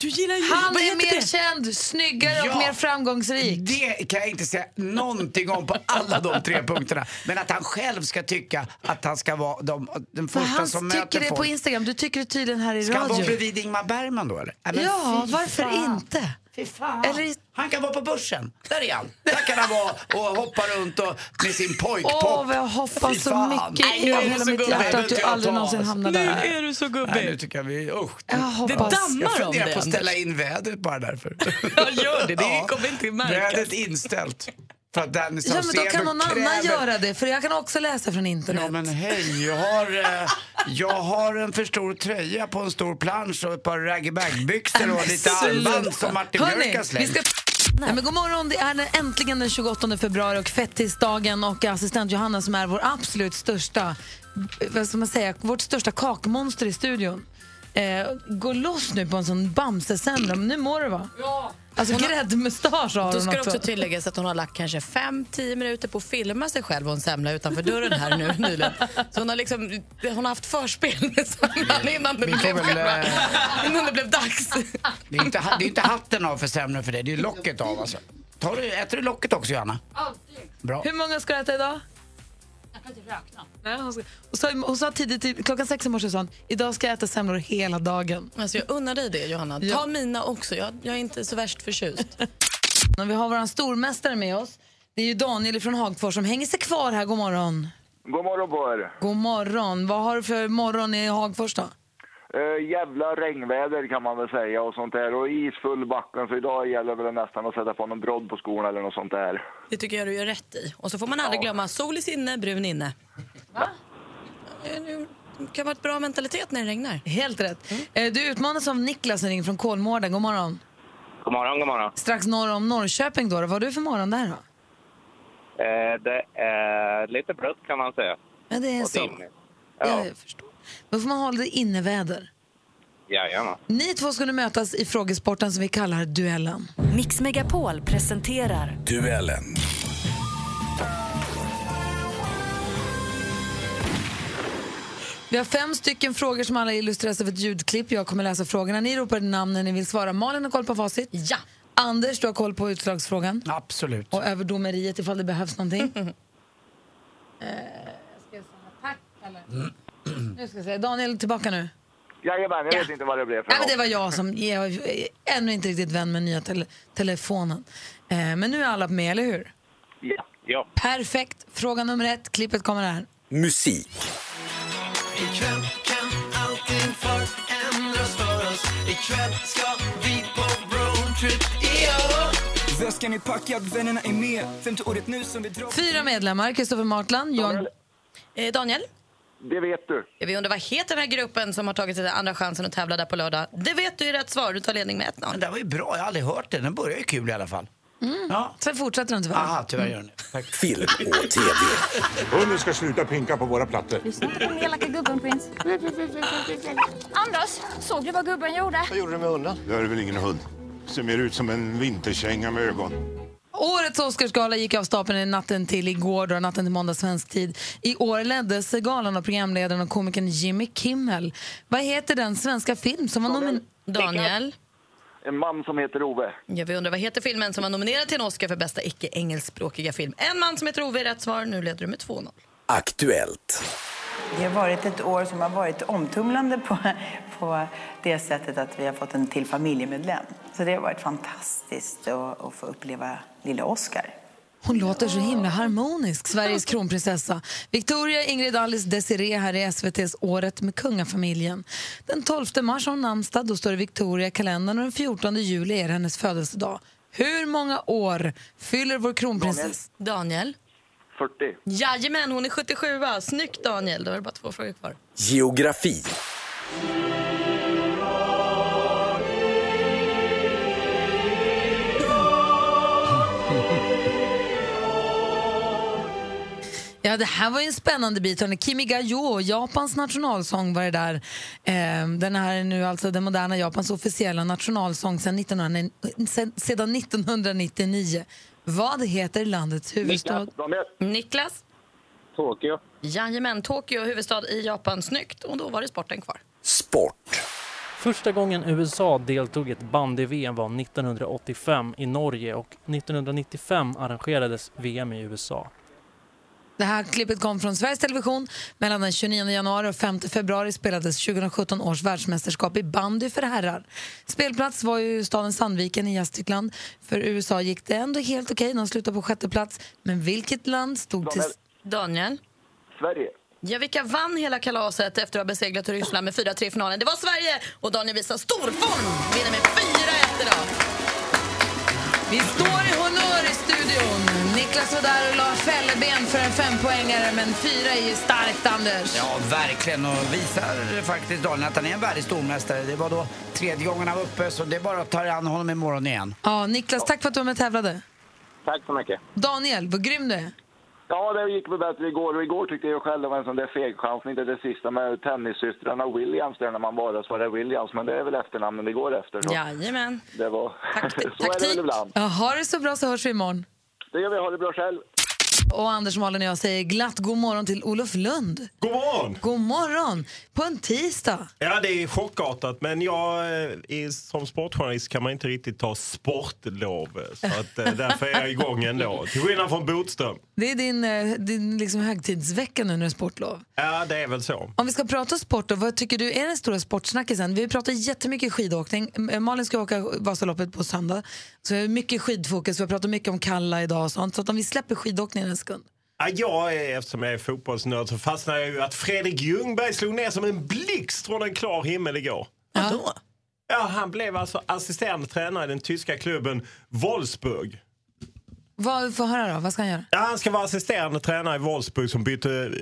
D: Du gillar ju...
B: Han
D: vad
B: är
D: heter
B: mer
D: det?
B: känd, snyggare och
C: Ja.
B: mer framgångsrik.
C: Det kan jag inte säga någonting om på alla de tre punkterna. Men att han själv ska tycka att han ska vara de, den
B: Vad
C: första
B: han
C: som
B: tycker
C: möter
B: det
C: folk.
B: på Instagram, du tycker det tydligen här i
C: Ska han
B: radio.
C: vara bredvid Ingmar Bergman då eller? Nej, men
B: ja,
C: fy
B: varför
C: fan.
B: inte?
C: Fy fan. Han kan vara på börsen. Där är han. Där kan han vara och hoppa runt och med sin pojkpop.
B: Åh, vad jag hoppas
C: Fy
B: så
C: fan.
B: mycket
C: Nej, nu är
B: av
C: du
B: hela
C: så
B: mitt
C: gubbig.
B: hjärta
C: Nu
B: att du
C: vill jag
B: aldrig
C: ta
B: någonsin
C: oss.
B: hamnar där.
D: Nu är du så
C: Nej, nu
D: gubbig.
C: tycker jag vi... Usch.
B: Jag hoppas. Det dammar
C: jag
B: om
C: funderar
B: det,
C: på att
B: Anders.
C: ställa in vädret bara därför.
D: Ja, gör
C: <laughs>
D: det. Det kommer inte märkas.
C: Vädret inställt. För att Danny
B: Ja, men då
C: Saucedo
B: kan någon annan
C: kräver-
B: göra det, för jag kan också läsa från internet.
C: Ja men hej, jag har, eh, jag har en för stor tröja på en stor plansch och ett par raggybagbyxor och lite armband som Martin Björk har
B: vi
C: slängt.
B: ska... Nej, men god morgon, det är den- äntligen den 28 februari och fettisdagen och assistent Johanna som är vår absolut största, vad ska man säga, vårt största kakmonster i studion. Eh, gå loss nu på en sån Bamse-sändning, nu mår du va?
D: Ja.
B: Alltså
D: Hon har-
B: gräddmustasch har
D: Då
B: hon
D: ska det
B: också.
D: också tilläggas att hon har lagt kanske 5-10 minuter på att filma sig själv och en semla utanför dörren
B: <laughs>
D: här nu nyligen. Så hon har, liksom, hon har haft förspel med semlan innan det,
C: Vi får
D: blev,
C: väl,
D: själva,
C: eh,
D: <laughs> innan det blev dags.
C: Det är inte, ha- det är inte hatten av för sämre för det, det är locket av alltså. Tar du, äter du locket också Johanna? Bra.
B: Hur många ska du äta idag? Nej, hon, ska, hon, sa, hon sa tidigt, i- klockan sex i morse sa hon, idag ska jag äta semlor hela dagen.
D: Alltså jag unnar dig det Johanna. Ta
B: Ja.
D: mina också, jag, jag är inte så
B: <laughs>
D: värst förtjust.
B: Och Vi har vår stormästare med oss. Det är ju Daniel från Hagfors som hänger sig kvar här. God morgon.
F: God morgon på er.
B: God morgon. Vad har du för morgon i Hagfors då?
F: Eh, jävla regnväder kan man väl säga och sånt där. Och isfull backen så idag gäller väl nästan att sätta på någon brodd på skorna eller något sånt där.
D: Det tycker jag du gör rätt i. Och så får man aldrig glömma sol i sinne, brun inne. Va? Det kan vara ett bra mentalitet när det regnar.
B: Helt rätt. Eh, Du utmanas av Niklas som ringer från Kolmården. God morgon.
P: God morgon, god morgon.
B: Strax norr om Norrköping då. Vad har du för morgon där då?
P: Eh, det är lite blött kan man säga.
B: Ja, det är
P: Och
B: så.
P: dimmigt.
B: Ja, jag förstår. Då får man hålla det inneväder.
P: Jajamän.
B: Ni två ska nu mötas i frågesporten som vi kallar duellen.
E: Mix Megapol presenterar
Q: Duellen.
B: Vi har fem stycken frågor som alla illustreras av ett ljudklipp. Jag kommer läsa frågorna. Ni ropar namn när ni vill svara. Malin har koll på facit. Ja. Anders, du har koll på utslagsfrågan.
C: Absolut.
B: Och över domeriet ifall det
E: <laughs>
B: behövs någonting. Eh, nu ska jag säga. Daniel, tillbaka nu.
F: Jajamän, jag vet inte vad det blev för
B: Nej, men det
F: något.
B: var jag som jag är ännu inte riktigt vän med nya tele telefonen. Eh, men nu är alla med, eller hur?
P: Ja. ja.
B: Perfekt. Fråga nummer ett. Klippet kommer här.
Q: Musik.
R: Ikväll kan allting förändras för oss Ikväll ska vi på roadtrip, ja Väskan är packad, vännerna är med Femte året nu som vi drar
B: Fyra medlemmar. Kristoffer Martland, Johan...
D: Eh, Daniel?
F: Det vet du.
D: Vi undrar vad heter den här gruppen som har tagit sig den andra chansen att tävla där på lördag? Det vet du i rätt svar. Du tar ledning med 1-0.
C: Men det här var ju bra, jag har aldrig hört den. Den börjar ju kul i alla fall.
B: Mm. Sen fortsätter den tyvärr.
C: Aha, tyvärr gör den det. Tack.
Q: Film och TV. Hunden ska sluta pinka på våra plattor.
S: Den elaka gubben, prins. Anders, såg du vad gubben gjorde?
T: Vad gjorde du med hunden? Det här är väl ingen hund? Ser mer ut som en vinterkänga med ögon.
B: Årets Oscarsgala gick av stapeln i natten till igår, då, natten till måndag svensk tid. I år leddes galan av programledaren och komikern Jimmy Kimmel. Vad heter den svenska film som var nomin...
D: Daniel?
F: En man som heter Ove.
D: Ja, vi undrar vad heter filmen som var nominerad till en Oscar för bästa icke-engelskspråkiga film? En man som heter Ove är rätt svar. Nu leder du med 2-0.
Q: Aktuellt.
U: Det har varit ett år som har varit omtumlande på, på det sättet att vi har fått en till familjemedlem. Så det har varit fantastiskt att, att få uppleva lilla Oscar.
B: Hon låter så himla harmonisk, Sveriges kronprinsessa. Victoria Ingrid Alice Desiree här i SVTs Året med kungafamiljen. Den 12 mars har hon namnsdag, då står det Victoria i kalendern och den 14 juli är hennes födelsedag. Hur många år fyller vår kronprinsessa?
D: Daniel?
F: 40.
D: Jajamän, hon är 77 Snyggt Daniel, då är det bara två frågor kvar.
Q: Geografi.
B: det här var ju en spännande bit. Hörrni. Kimi Gayo, Japans nationalsång var det där. Eh, den här är nu alltså den moderna Japans officiella nationalsång sedan 1900 sedan- sedan 1999. Vad heter landets huvudstad?
D: Niklas?
P: Tokyo.
D: Jajamän, Tokyo, huvudstad i Japan. Snyggt. Och då var det sporten kvar.
A: Sport. Första gången USA deltog i ett bandy-VM var 1985 i Norge och 1995 arrangerades VM i USA.
B: Det här klippet kom från Sveriges Television. Mellan den 29 januari och 5 februari spelades 2017 års världsmästerskap i bandy för herrar. Spelplats var ju staden Sandviken i Gästrikland. För USA gick det ändå helt okej. De slutade på sjätte plats. Men vilket land stod till...
D: Daniel?
F: Sverige.
D: Ja, vilka vann hela kalaset efter att ha beseglat Ryssland med 4-3 i finalen? Det var Sverige! Och Daniel visar stor form! Vinner med 4-1 idag.
B: Vi står i honör i studion. Niklas var där och la fälleben för en fempoängare, men fyra är ju starkt, Anders.
C: Ja, verkligen. Och visar faktiskt Daniel att han är en värdig stormästare. Det var då tredje gången han var uppe, så det är bara att ta an honom imorgon igen.
B: Ja, Niklas, tack för att du var med och tävlade.
F: Tack så mycket.
B: Daniel, vad grym du är.
F: Ja, det gick väl bättre igår. Och igår tyckte jag själv det var en sån där fegchansning. Det, det sista med tennissystrarna Williams där när man bara svarade Williams. Men det är väl efternamnen det går efter. Så.
D: Jajamän.
F: Det var... <laughs> så är det väl ibland.
B: Ja, ha det så bra så hörs vi imorgon.
F: Det gör vi. Ha det bra själv.
B: Och Anders, Malin och jag säger glatt god morgon till Olof Lund.
V: God morgon!
B: God morgon! På en tisdag.
V: Ja, det är chockartat, men jag, eh, är, som sportjournalist kan man inte riktigt ta sportlov. Så att, eh, därför är jag igång ändå, till skillnad från Bodström.
B: Det är din, eh, din liksom högtidsvecka nu när det är sportlov.
V: Ja, det är väl så.
B: Om vi ska prata sport, då, vad tycker du är den stora sportsnackisen? Vi pratar jättemycket skidåkning. M- eh, Malin ska åka Vasaloppet på söndag. Så vi har mycket skidfokus. Vi har pratat mycket om Kalla idag och sånt. Så att om vi släpper skidåkningen en sekund.
V: Ja, jag är, eftersom jag är fotbollsnörd så fastnar jag ju att Fredrik Ljungberg slog ner som en blixt från en klar himmel igår.
B: Vadå?
V: Ja, han blev alltså assisterande tränare i den tyska klubben Wolfsburg.
B: Vad, få höra då, vad ska han göra?
V: Ja, han ska vara assisterande tränare i Wolfsburg som bytte eh,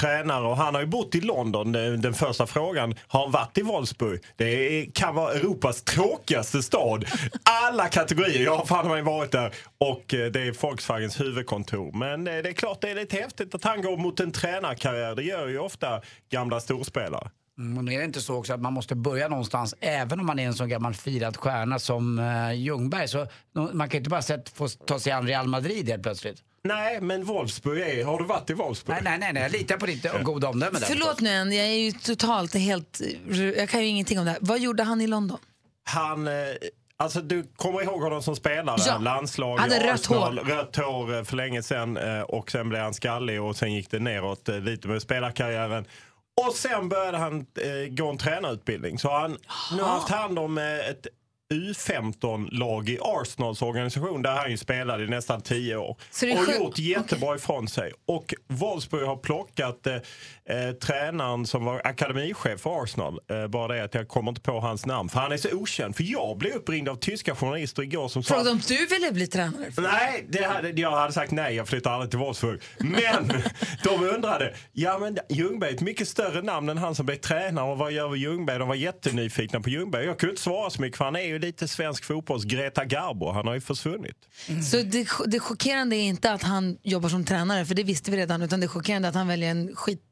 V: tränare och han har ju bott i London. Den den första frågan, har han varit i Wolfsburg? Det är- kan vara Europas tråkigaste stad. Alla kategorier. Jag har fan mig varit där. Och eh, det är Volkswagens huvudkontor. Men eh, det är klart det är lite häftigt att han går mot en tränarkarriär. Det gör ju ofta gamla storspelare.
C: Mm, och det är det inte så också att man måste börja någonstans, även om man är en sån gammal firad stjärna som eh, Ljungberg. Så, no- man kan ju inte bara sätt, få ta sig an Real Madrid helt plötsligt.
V: Nej, men Wolfsburg är... Har du varit i Wolfsburg?
C: Nej, nej, nej. nej. Jag litar på ditt eh, goda omdöme där.
B: Förlåt nu än, jag är ju totalt helt... Jag kan ju ingenting om det här. Vad gjorde han i London?
V: Han... eh, Alltså du kommer ihåg honom som spelare,
B: Ja.
V: landslag,
B: Hade rött
V: Arsenal,
B: hår.
V: rött hår eh, för länge sedan eh, och sen blev han skallig och sen gick det neråt eh, lite med spelarkarriären. Och sen började han eh, gå en tränarutbildning. Så han, nu har han haft hand om eh, ett U15-lag i Arsenals organisation där han ju spelade i nästan tio år.
W: Så det är
V: Och
W: sjukt.
V: gjort jättebra ifrån sig. Och Wolfsburg har plockat eh, eh, tränaren som var akademichef för Arsenal. Eh, bara det att jag kommer inte på hans namn, för han är så okänd. För jag blev uppringd av tyska journalister igår som sa...
B: Frågade om du ville bli tränare?
V: Nej, det hade, jag hade sagt nej, jag flyttar aldrig till Wolfsburg. Men de undrade, ja men Ljungberg är ett mycket större namn än han som blev tränare och vad gör Ljungberg? De var jättenyfikna på Ljungberg. Jag kunde inte svara så mycket för han är ju lite svensk fotbolls Greta Garbo, han har ju försvunnit.
B: Så det, det chockerande är inte att han jobbar som tränare, för det visste vi redan, utan det chockerande är att han väljer en skitby.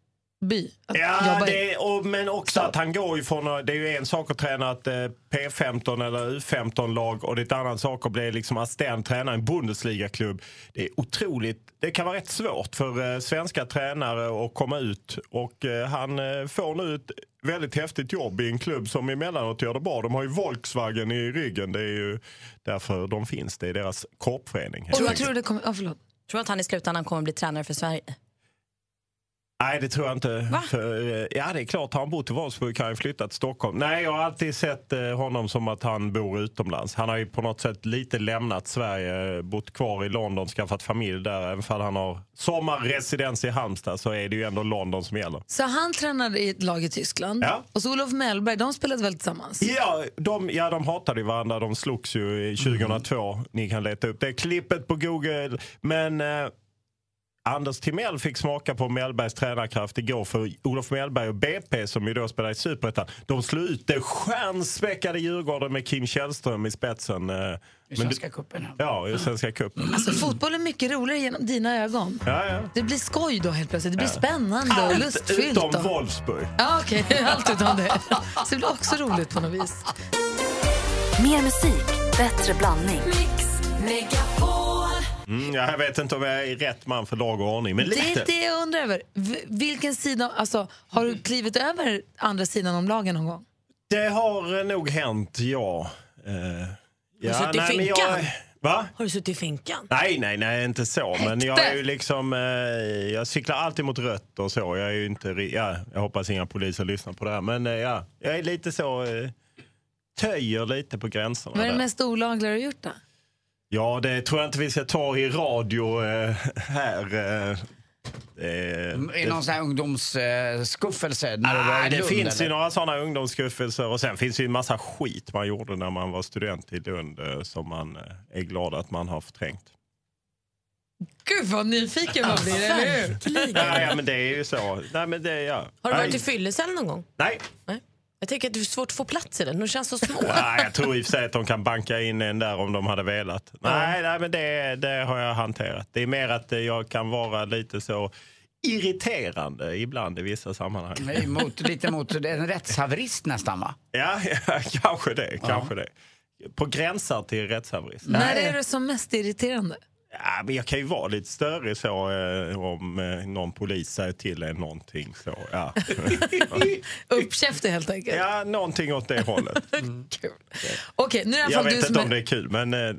B: Att
V: Ja,
B: jobba i.
V: det, och, men också att han går ju från, det är ju en sak att träna ett eh, P15 eller U15-lag och det är ett annan sak att bli liksom assistent tränare i en Bundesliga-klubb. Det är otroligt, det kan vara rätt svårt för eh, svenska tränare att komma ut och eh, han eh, får nu ett väldigt häftigt jobb i en klubb som emellanåt gör det bra. De har ju Volkswagen i ryggen, det är ju därför de finns, det är deras korpförening. helt
D: Tror,
V: enkelt.
D: tror,
B: det kommer, oh, förlåt.
D: tror du att han i slutändan kommer bli tränare för Sverige?
V: Nej, det tror jag inte. För, eh, ja, det är klart. Har han bott i Wolfsburg kan han ju flytta till Stockholm. Nej, jag har alltid sett eh, honom som att han bor utomlands. Han har ju på något sätt lite lämnat Sverige, eh, bott kvar i London, skaffat familj där. Även fall han har sommarresidens i Halmstad så är det ju ändå London som gäller.
B: Så han tränade i ett lag i Tyskland.
V: Ja.
B: Och så Olof Mellberg, de spelade väl tillsammans?
V: Ja, de, ja, de hatade ju varandra. De slogs
B: Mm.
V: ju i 2002. Ni kan leta upp det klippet på Google. Men eh, Anders Timell fick smaka på Mellbergs tränarkraft igår för Olof Mellberg och BP som ju då spelar i Superettan. De slog ut det stjärnspäckade Djurgården med Kim Källström i spetsen. eh, men
C: Svenska
V: du- Ja, i Svenska cupen.
B: Alltså fotboll är mycket roligare genom dina ögon.
V: Ja, ja.
B: Det blir skoj då helt plötsligt. Det blir
V: Ja.
B: spännande och
V: Allt
B: lustfyllt.
V: utom
B: och-
V: Wolfsburg.
B: Ja, okej. <laughs> Allt utom det. Så det blir också roligt på något vis.
E: Mer musik, bättre blandning.
V: Mm, ja, jag vet inte om jag är rätt man för lag och ordning, men
B: Det
V: lite.
B: är det jag undrar över. V- Vilken sida, alltså, har du klivit över andra sidan om lagen någon gång?
V: Det har eh, nog hänt, ja. Eh, ja
D: suttit i
V: men
D: finkan?
V: Va?
D: Har du suttit i finkan?
V: Nej, nej, nej, inte så. Men jag är ju liksom... Eh, jag cyklar alltid mot rött och så. Jag är ju inte... ri- Ja, jag hoppas inga poliser lyssnar på det här. Men eh, ja, jag är lite så... Eh, töjer lite på gränserna.
B: Vad är
V: där.
B: det mest olagliga du har gjort då?
V: Ja, det tror jag inte vi ska ta i radio eh, här. Eh,
C: Mm, Är det någon sån här ungdomsskuffelse? när du var i
V: Nej, Mm, Ah, det
C: Lund,
V: finns ju
C: eller?
V: några sådana ungdomsskuffelser och sen finns det ju en massa skit man gjorde när man var student i Lund eh, som man eh, är glad att man har förträngt.
B: Gud vad nyfiken man blir, eller hur?
V: Nej, ja, men det är ju så. Nej, men det är jag.
D: Har du
V: Nej.
D: varit i fyllecell någon gång?
V: Nej.
D: Jag tänker att det är svårt att få plats i den. De känns så små.
V: Nej, Ah, jag tror i och för sig att de kan banka in en där om de hade velat. Nej, nej men det, det har jag hanterat. Det är mer att eh, jag kan vara lite så irriterande ibland i vissa sammanhang.
C: Nej, mot, Mm, lite mot en rättshaverist nästan va?
V: Ja, <laughs> ja kanske det. Kanske det. På gränser till rättshaverist.
B: När är det som mest
V: <laughs>
B: irriterande?
V: Ja, men jag kan ju vara lite större så eh, om eh, någon polis säger till en någonting. Så,
B: <laughs>
V: ja.
B: Uppkäftig helt enkelt.
V: ja, någonting åt det
B: <laughs>
V: hållet.
B: Okej, nu är det i alla
V: Jag
B: fall
V: vet
B: du som
V: inte om
B: är...
V: det är kul, men eh,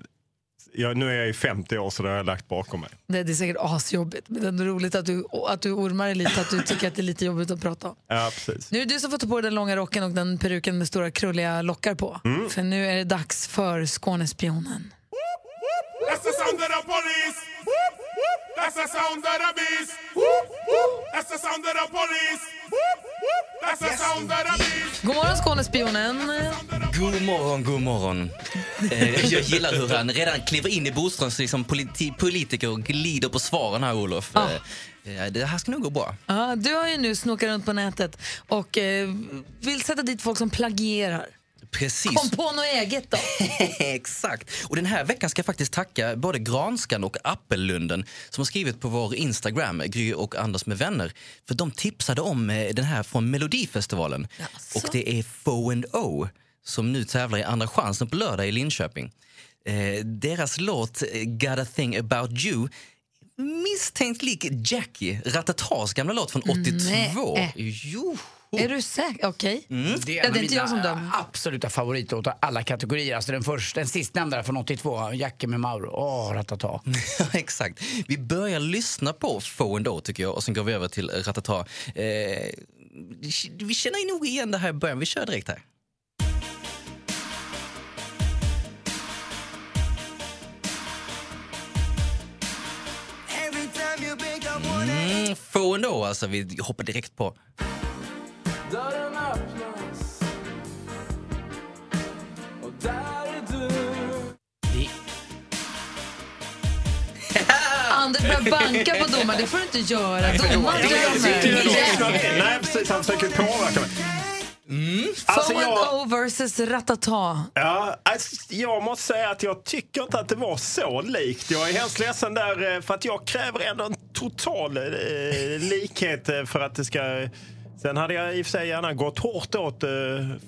V: jag, nu är jag ju 50 år så det har jag lagt bakom mig.
B: Nej, det är säkert asjobbigt, men det är ändå roligt att du, att du ormar dig lite, att du tycker att det är lite jobbigt att prata om.
V: Ja, precis.
B: Nu är det du som får ta på dig den långa rocken och den peruken med stora krulliga lockar på.
V: Mm.
B: För nu är det dags för Skånespionen.
Q: That's the sound of the police! That's the sound of the beast! That's the sound of the police! That's the sound of the beast!
B: God morgon Skånespionen!
X: God morgon, god morgon. Eh, Jag gillar hur han redan kliver in i Boströms liksom, politi- politiker och glider på svaren här, Olof. Eh, eh, Det här ska nog gå bra.
B: Ja, du har ju nu snokat runt på nätet och eh, vill sätta dit folk som plagierar.
X: Precis.
B: Kom på något eget då!
X: <laughs> Exakt. Och den här veckan ska jag faktiskt tacka både Granskan och Appellunden som har skrivit på vår Instagram, Gry och Anders med vänner. För de tipsade om eh, den här från Melodifestivalen. Och det är Fo and O som nu tävlar i Andra chansen på lördag i Linköping. Eh, deras låt eh, Got a thing about you misstänkt lik Jackie, Ratatas gamla låt från 82.
B: Nej.
X: Jo.
B: Är du säker? Okej.
C: Det
V: Mm.
B: Ja,
C: är, en av
B: det är inte jag som
C: mina
B: dömer.
C: absoluta favoritlåtar alla kategorier. Alltså den, först, den sistnämnda från 82, Jackie med Mauro. Åh,
V: <laughs>
C: ratata.
X: <laughs> Ja, Exakt. Vi börjar lyssna på Fo and O, tycker jag, och sen går vi över till Ratata. Eh, vi känner nog igen det här i början. Vi kör direkt här. Mm, Fo and O, alltså. Vi hoppar direkt på.
R: Dörren öppnas och där är du
B: Anders börjar banka på domaren, det får du inte göra. Domaren dömer.
V: Nej, precis. Han försöker påverka mig.
B: Mm.
V: Alltså,
B: Foe
V: jag-
B: and O versus Ratata.
V: Ja, alltså, jag måste säga att jag tycker inte att det var så likt. Jag är hemskt ledsen där eh, för att jag kräver ändå en total eh, likhet eh, för att det ska... Sen hade jag i och för sig gärna gått hårt åt eh,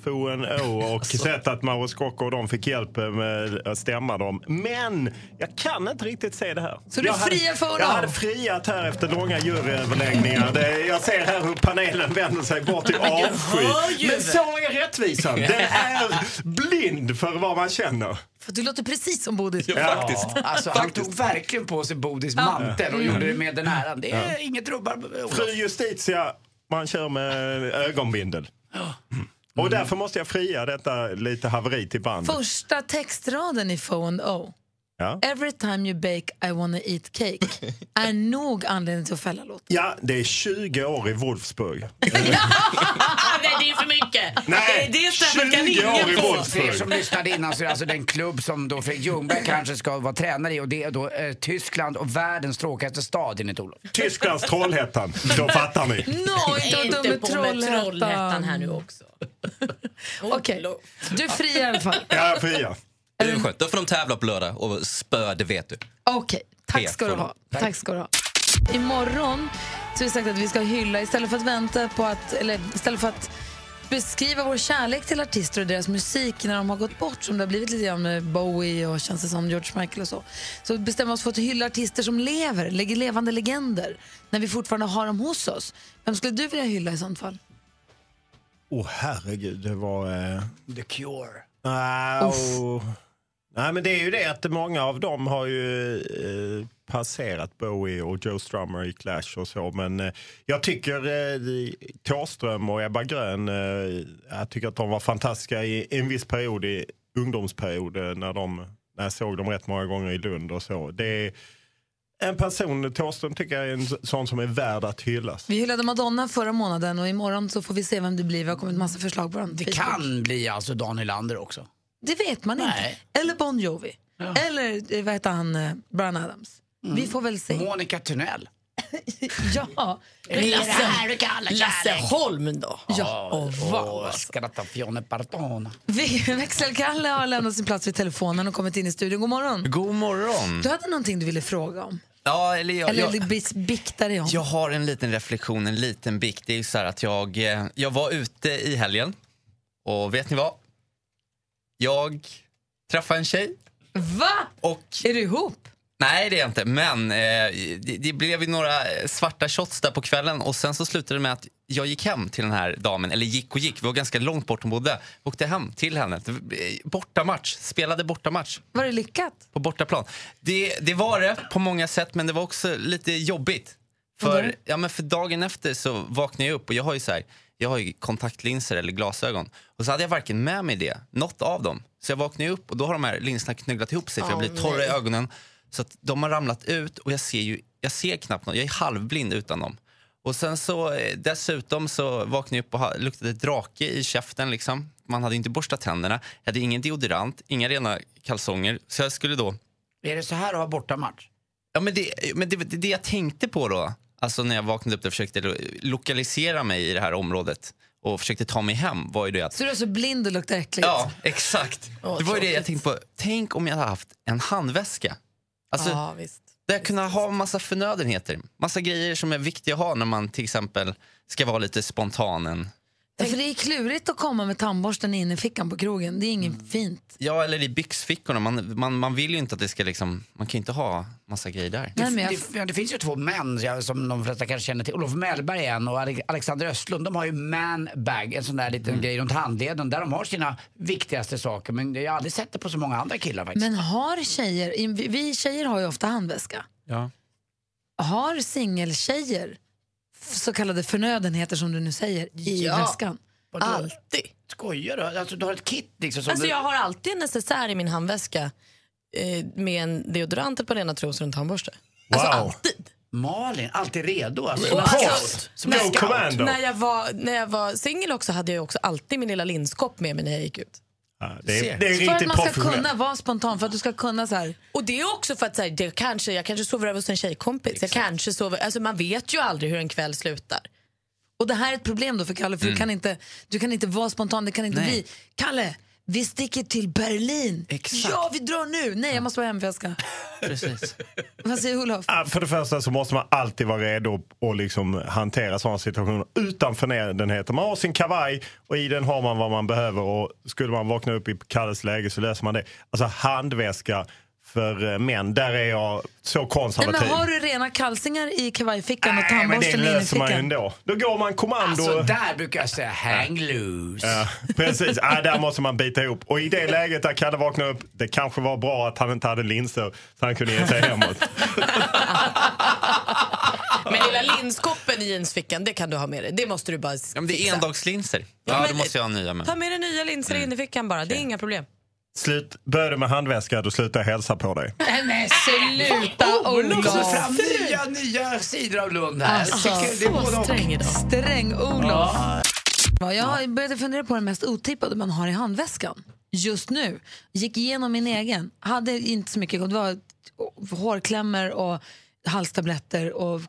V: Foen O och
R: Alltså.
V: sett att Mauro Scocco och de fick hjälp eh, med att stämma dem. Men jag kan inte riktigt se det här.
R: Så du
V: Jag hade-
R: friar Foen
V: Jag
R: O?
V: hade friat här efter långa juryöverläggningar. Det, jag ser här hur panelen vänder sig bort i
R: Men jag
V: avsky.
R: hör ju
V: Men
R: det.
V: så är
B: <laughs>
V: rättvisan. Den är blind för vad man känner.
B: För du låter precis som Bodil.
C: Alltså, Han tog verkligen på sig Bodis mantel och
V: Ja.
C: gjorde det med den äran. Det är
V: Ja.
C: inget rubbar.
V: Fru Justitia, man kör med ögonbindel. Mm. Och därför måste jag fria detta lite haveri till bandet.
B: Första textraden i Foe and O.
V: Ja.
B: Every time you bake I wanna eat
V: <laughs>
B: cake är nog anledning till att fälla låten.
V: ja, det är 20 år i Wolfsburg.
B: Ah, Nej,
D: det är för mycket.
C: Nej,
D: det är straffet kan ingen få.
C: För er som lyssnade innan så är det alltså den klubb som då Fredrik Ljungberg kanske ska vara tränare i och det är då eh, Tyskland och världens tråkigaste stad enligt Olof.
V: Tysklands Trollhättan, då fattar ni.
D: Mm.
B: Nej, inte
D: Inte
B: vara dum med
D: på med
B: Trollhättan.
D: Trollhättan här nu också.
B: <laughs> Okej, du är fri i alla fall.
V: Ja, fria.
X: Det är väl skönt. Då får de tävla på lördag och spö, det vet du.
B: Okej, tack ska du
X: Helt
B: ha.
X: fullt. Tack.
B: Tack ska du ha. Imorgon så har vi sagt att vi ska hylla istället för att vänta på att, eller istället för att beskriva vår kärlek till artister och deras musik när de har gått bort som det har blivit lite grann med Bowie och känns det som George Michael och så. Så bestämmer vi oss för att hylla artister som lever, lägger levande legender när vi fortfarande har dem hos oss. Vem skulle du vilja hylla i sånt fall?
V: Åh oh, herregud, det var... Eh...
C: The Cure.
V: Nej, och... Nej, men det är ju det att många av dem har ju eh, passerat Bowie och Joe Strummer i Clash och så. Men eh, jag tycker eh, Thåström och Ebba Grön, eh, jag tycker att de var fantastiska i en viss period, i ungdomsperiod, eh, när, de, när jag såg dem rätt många gånger i Lund och så. Det är en person, Thåström tycker jag är en sån som är värd att hyllas.
B: Vi hyllade Madonna förra månaden och imorgon så får vi se vem det blir. Vi har kommit massa förslag på den.
C: Det kan bli alltså Dan Hylander också.
B: Det vet man inte. Eller Bon Jovi. Eller eh, vad heter han, eh, Bryan Adams. Vi får väl se.
C: Mm. Monica Tunnell.
B: <laughs> ja.
C: Lasse- Lasse
D: Holm då?
B: Ja, och vad.
C: Skrattafione partona.
B: Vi- Växelkalle har lämnat sin plats vid telefonen och kommit in i studion. God morgon.
Y: God morgon.
B: Du hade någonting du ville fråga om.
Y: Ja, eller jag,
B: Eller
Y: jag,
B: bis- bikta dig om.
Y: <laughs> jag har en liten reflektion, en liten bikt. Det är ju så här att jag, eh, jag var ute i helgen och vet ni vad? Jag träffade en tjej.
B: Va?
Y: <laughs> Och,
B: är du ihop?
Y: Nej, det är jag inte. Men eh, det, det blev ju några eh, svarta shots där på kvällen och sen så slutade det med att jag gick hem till den här damen. Eller gick och gick, vi var ganska långt bort hon bodde. Åkte hem till henne. eh, Bortamatch, spelade bortamatch.
B: Var det lyckat?
Y: På bortaplan. Det, det var det på många sätt, men det var också lite jobbigt.
B: Vadå?
Y: För, ja, men för dagen efter så vaknade jag upp och jag har ju, så här, jag har ju kontaktlinser eller glasögon. Och så hade jag varken med mig det, något av dem. Så jag vaknade ju upp och då har de här linserna knögglat ihop sig för typ, jag
I: Åh,
Y: blir torr i
I: nej.
Y: ögonen. Så att de har ramlat ut och jag ser ju jag ser knappt något. Jag är halvblind utan dem. Och sen så eh, dessutom så vaknade jag upp och ha- luktade drake i käften liksom. Man hade inte borstat tänderna, jag hade ingen deodorant, inga rena kalsonger. Så jag skulle då
C: Är det så här att ha bortamatch?
Y: Ja, men det, men det, det, det jag tänkte på då, alltså när jag vaknade upp och försökte lo- lokalisera mig i det här området och försökte ta mig hem var ju det att...
B: Så du är så blind och luktar äckligt?
Y: Ja, exakt.
B: Åh,
Y: det var ju det jag
B: tråkigt.
Y: tänkte på. Tänk om jag hade haft en handväska. Alltså,
B: Ja, visst.
Y: Där jag kunde ha massa förnödenheter. Massa grejer som är viktiga att ha när man till exempel ska vara lite spontan. En,
B: Ja, För det är klurigt att komma med tandborsten in i fickan på krogen. Det är inget
Y: Mm.
B: fint.
Y: ja, eller i byxfickorna. Man, man, man vill ju inte att det ska liksom... Man kan ju inte ha massa grejer där.
C: Det, det, ja, det finns ju två män ja, som de flesta kanske känner till. Olof Mellberg är en och Ale- Alexander Östlund. De har ju manbag, en sån där liten grej runt handleden där de har sina viktigaste saker. Men jag har aldrig sett det på så många andra killar faktiskt.
B: Men har tjejer, vi- vi tjejer har ju ofta handväska.
Y: Ja.
B: Har singeltjejer f- så kallade förnödenheter som du nu säger i
D: Ja.
B: väskan?
D: Vadå?
B: Alltid.
C: Skojar du? Alltså, du har ett kit liksom som
D: Alltså,
C: du...
D: jag har alltid en necessär i min handväska eh, med en deodorant, ett par rena trosor och en tandborste. Alltså, alltid.
C: Malin, alltid redo. Alltså.
D: Och
C: Som en
D: alltså,
C: scout. Som en
D: när,
C: scout.
D: när jag var, när jag var singel också hade jag också alltid min lilla linskopp med mig när jag gick ut.
V: det är-
B: det är För att man ska kunna vara spontan, för att du ska kunna så här...
D: Och det är också för att så här, det kanske, jag kanske sover över hos en tjejkompis. Jag kanske sover, alltså man vet ju aldrig hur en kväll slutar.
B: Och det här är ett problem då för Kalle, för du,
D: Mm.
B: kan inte, du kan inte vara spontan, det kan inte
D: Nej.
B: bli Kalle, vi sticker till Berlin! Ja, vi drar nu! Nej, jag måste vara hem för jag ska.
Y: Precis.
B: Vad säger Olof?
V: Ja, För det första så måste man alltid vara redo att liksom hantera sådana situationer utan förnödenheter. Man har sin kavaj och i den har man vad man behöver och skulle man vakna upp i Kalles läge så löser man det. Alltså handväska för eh, män, där är jag så
B: Nej,
V: konservativ.
B: men har du rena kalsingar i kavajfickan och
V: Nej, men det
B: tandborsten in i
V: löser man ju
B: fickan?
V: ändå. Då går man kommando.
C: Alltså där brukar jag säga hang loose.
V: Ja, precis, ja, där måste man bita ihop. Och i det läget där Kalle vaknar upp, det kanske var bra att han inte hade linser så han kunde ge sig hemåt.
D: Men lilla linskoppen i jeansfickan, det kan du ha med dig. Det måste du bara fixa.
Y: Ja, men det är endagslinser.
D: Ja,
Y: Ja,
D: men-
Y: då måste jag ha nya med.
D: Ta med dig nya linser in i fickan bara, det är inga problem.
V: Slut, börjar du med handväska, då slutar jag hälsa på dig.
B: Nej men sluta
C: Olof! Så
B: Olof!
C: oh, fram nya, nya sidor av Lund här.
D: Ah,
B: Alltså,
C: Jag tycker det är både
B: så
C: och.
B: sträng idag. Sträng Olof. Ja, Jag började fundera på det mest otippade man har i handväskan just nu. Gick igenom min egen. Hade inte så mycket. Det var hårklämmor och halstabletter och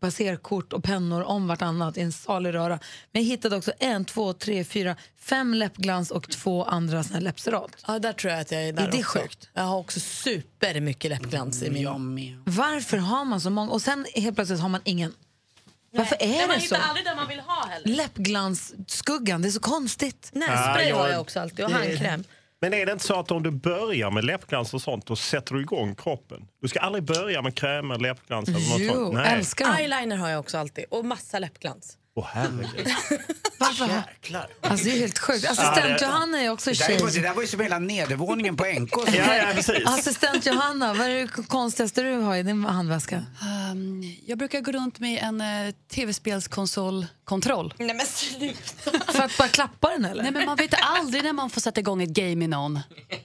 B: passerkort och pennor om vartannat i en salig röra. Men jag hittade också en, två, tre, fyra, fem läppglans och två andra såna här läppserat.
D: Ja, där tror jag att jag är där
B: Är det
D: också.
B: sjukt?
D: Jag har också supermycket läppglans
B: Mm.
D: i min.
B: Varför har man så många? Och sen helt plötsligt har man ingen. Varför är
D: man
B: det så?
D: hittar aldrig det man vill ha heller.
B: Läppglansskuggan, det är så konstigt.
V: Ah,
D: Nässpray har jag också alltid och handkräm.
V: Men är det inte så att om du börjar med läppglans och sånt, då sätter du igång kroppen? Du ska aldrig börja med krämer, läppglans eller något sånt.
D: Eyeliner har jag också alltid och massa läppglans.
V: Åh, herregud.
C: Jäklar.
B: Alltså det är helt sjukt.
C: Ja,
B: Assistent
C: det-
B: Johanna är också
C: det, där är,
B: tjej.
C: ju- det där var ju som hela nedervåningen på NK.
V: <laughs>
B: Assistent Johanna, vad är det konstigaste du har i din handväska?
I: Ehm, jag brukar gå runt med en eh, tv-spelskonsolkontroll.
D: Nej men sluta!
B: För att bara klappa den eller?
I: Nej, men man vet aldrig när man får sätta igång ett game i någon.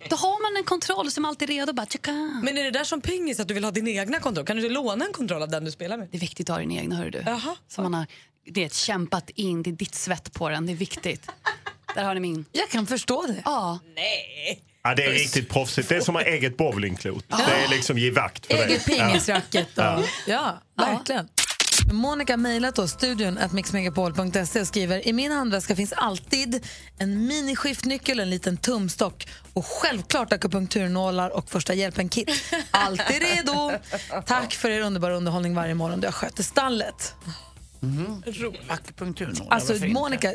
I: Då har man en kontroll som alltid är redo. Bara, tjocka.
D: Men är det där som pingis att du vill ha din egna kontroll? Kan du inte låna en kontroll av den du spelar med?
I: Det är viktigt att ha din egna, hör du. Som man har det är ett kämpat in, det är ditt svett på den, det är viktigt. Där har ni min.
B: Jag kan förstå det.
I: Ja.
V: Ja, det är riktigt proffsigt. Det är som att ha eget bowlingklot. Det är liksom ge vakt för
B: Eget
V: det. Ja.
B: pingisracket.
V: Ja.
B: Ja. ja, verkligen. Monica har mejlat oss, studion att mixmegapol.se och skriver i min handväska finns alltid en miniskiftnyckel, en liten tumstock och självklart akupunkturnålar och första hjälpen-kit. Alltid
C: <laughs>
B: redo. Tack för er underbara underhållning varje morgon. Du har skött stallet.
C: Mm-hmm. Mm. Akupunkturnålar,
B: Alltså
C: varför inte?
B: Monica,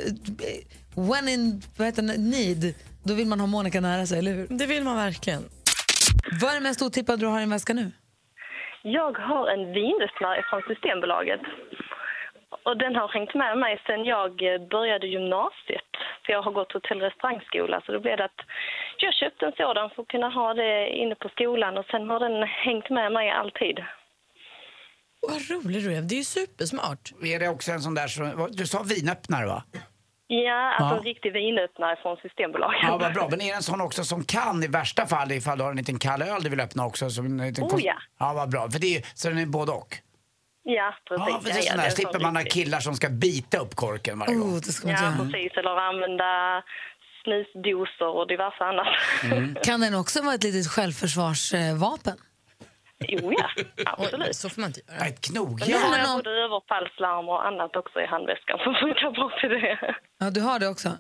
B: when in vad heter det, need, då vill man ha Monica nära sig, eller hur?
D: Det vill man verkligen.
B: Vad är det mest otippade du har i din väska nu?
L: Jag har en vinöppnare från Systembolaget. Och den har hängt med mig sedan jag eh, började gymnasiet. För jag har gått hotell och restaurangskola så då blev det att jag köpte en sådan för att kunna ha det inne på skolan och sen har den hängt med mig alltid.
D: Vad rolig du är. Det är ju supersmart.
C: Är det också en sån där som... vad- Du sa vinöppnare, va?
L: Ja, alltså
C: Ja.
L: en riktig vinöppnare från Systembolaget.
C: Ja, vad bra. Men är det en sån också som kan i värsta fall, ifall du har en liten kall öl du vill öppna också? Som en liten
L: Oh,
C: kon-
L: ja.
C: Ja, vad bra. För det är, ju- så den är både och?
L: Ja, precis.
C: Ja, för det är sån
L: det
C: där.
L: en sån
C: Slipper man ha
L: riktig.
C: killar som ska bita upp korken
B: Oh,
C: varje gång.
L: Ja, precis. Eller använda snusdosor och diverse annat.
C: Mm.
L: <laughs>
B: Mm. Kan den också vara ett litet självförsvarsvapen?
L: Jo, ja. Absolut.
D: Så får man inte
L: göra.
C: Ett knogjärn.
L: Men nu har jag både överfallslarm och annat också i handväskan som funkar bra till det.
B: Ja, du har det också?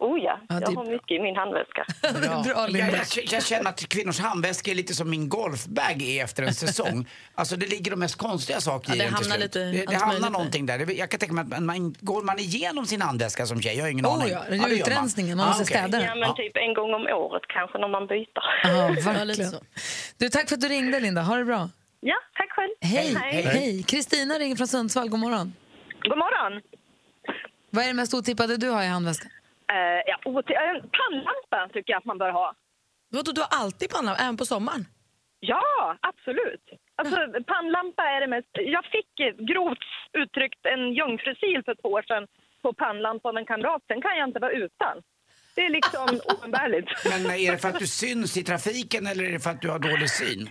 L: Oh ja,
C: Ja, det
L: jag
C: är
L: har mycket i min
B: <laughs>
L: handväska.
C: jag, jag, jag känner att kvinnors handväska är lite som min golfbag är efter en säsong. alltså det ligger de mest konstiga saker
D: Ja,
C: i
D: det
C: den till
D: hamnar
C: slut.
D: lite
C: det det
D: allt
C: hamnar
D: möjligt.
C: någonting där. Det- Jag kan tänka mig att man- man, går man igenom sin handväska som tjej? Jag har ingen
B: Oh,
C: aning.
B: ja. Det är
C: gör man. Ah,
B: utrensningen, man måste
C: okej.
B: städa den.
L: Ja, men typ en gång om året kanske när man byter. <laughs>
B: Ja, verkligen. Du, tack för att du ringde, Linda. Ha det bra.
L: Ja, tack själv.
B: Hej.
L: Hej.
B: Hej. Kristina ringer från Sundsvall. God morgon.
J: God morgon.
B: Vad är det mest otippade du har i handväskan?
J: Eh, ja, ot- en pannlampa tycker jag att man bör ha.
D: Vadå, du har alltid pannlampa, även på sommaren?
J: Ja, absolut. Alltså, pannlampa är det mest... Jag fick eh, grovt uttryckt en jungfrusil för ett år sedan på pannlampa av en kamrat. Sen kan jag inte vara utan. Det är
D: <laughs>
J: liksom oumbärligt.
C: Men är det för att du syns i trafiken eller är det för att du har dålig syn?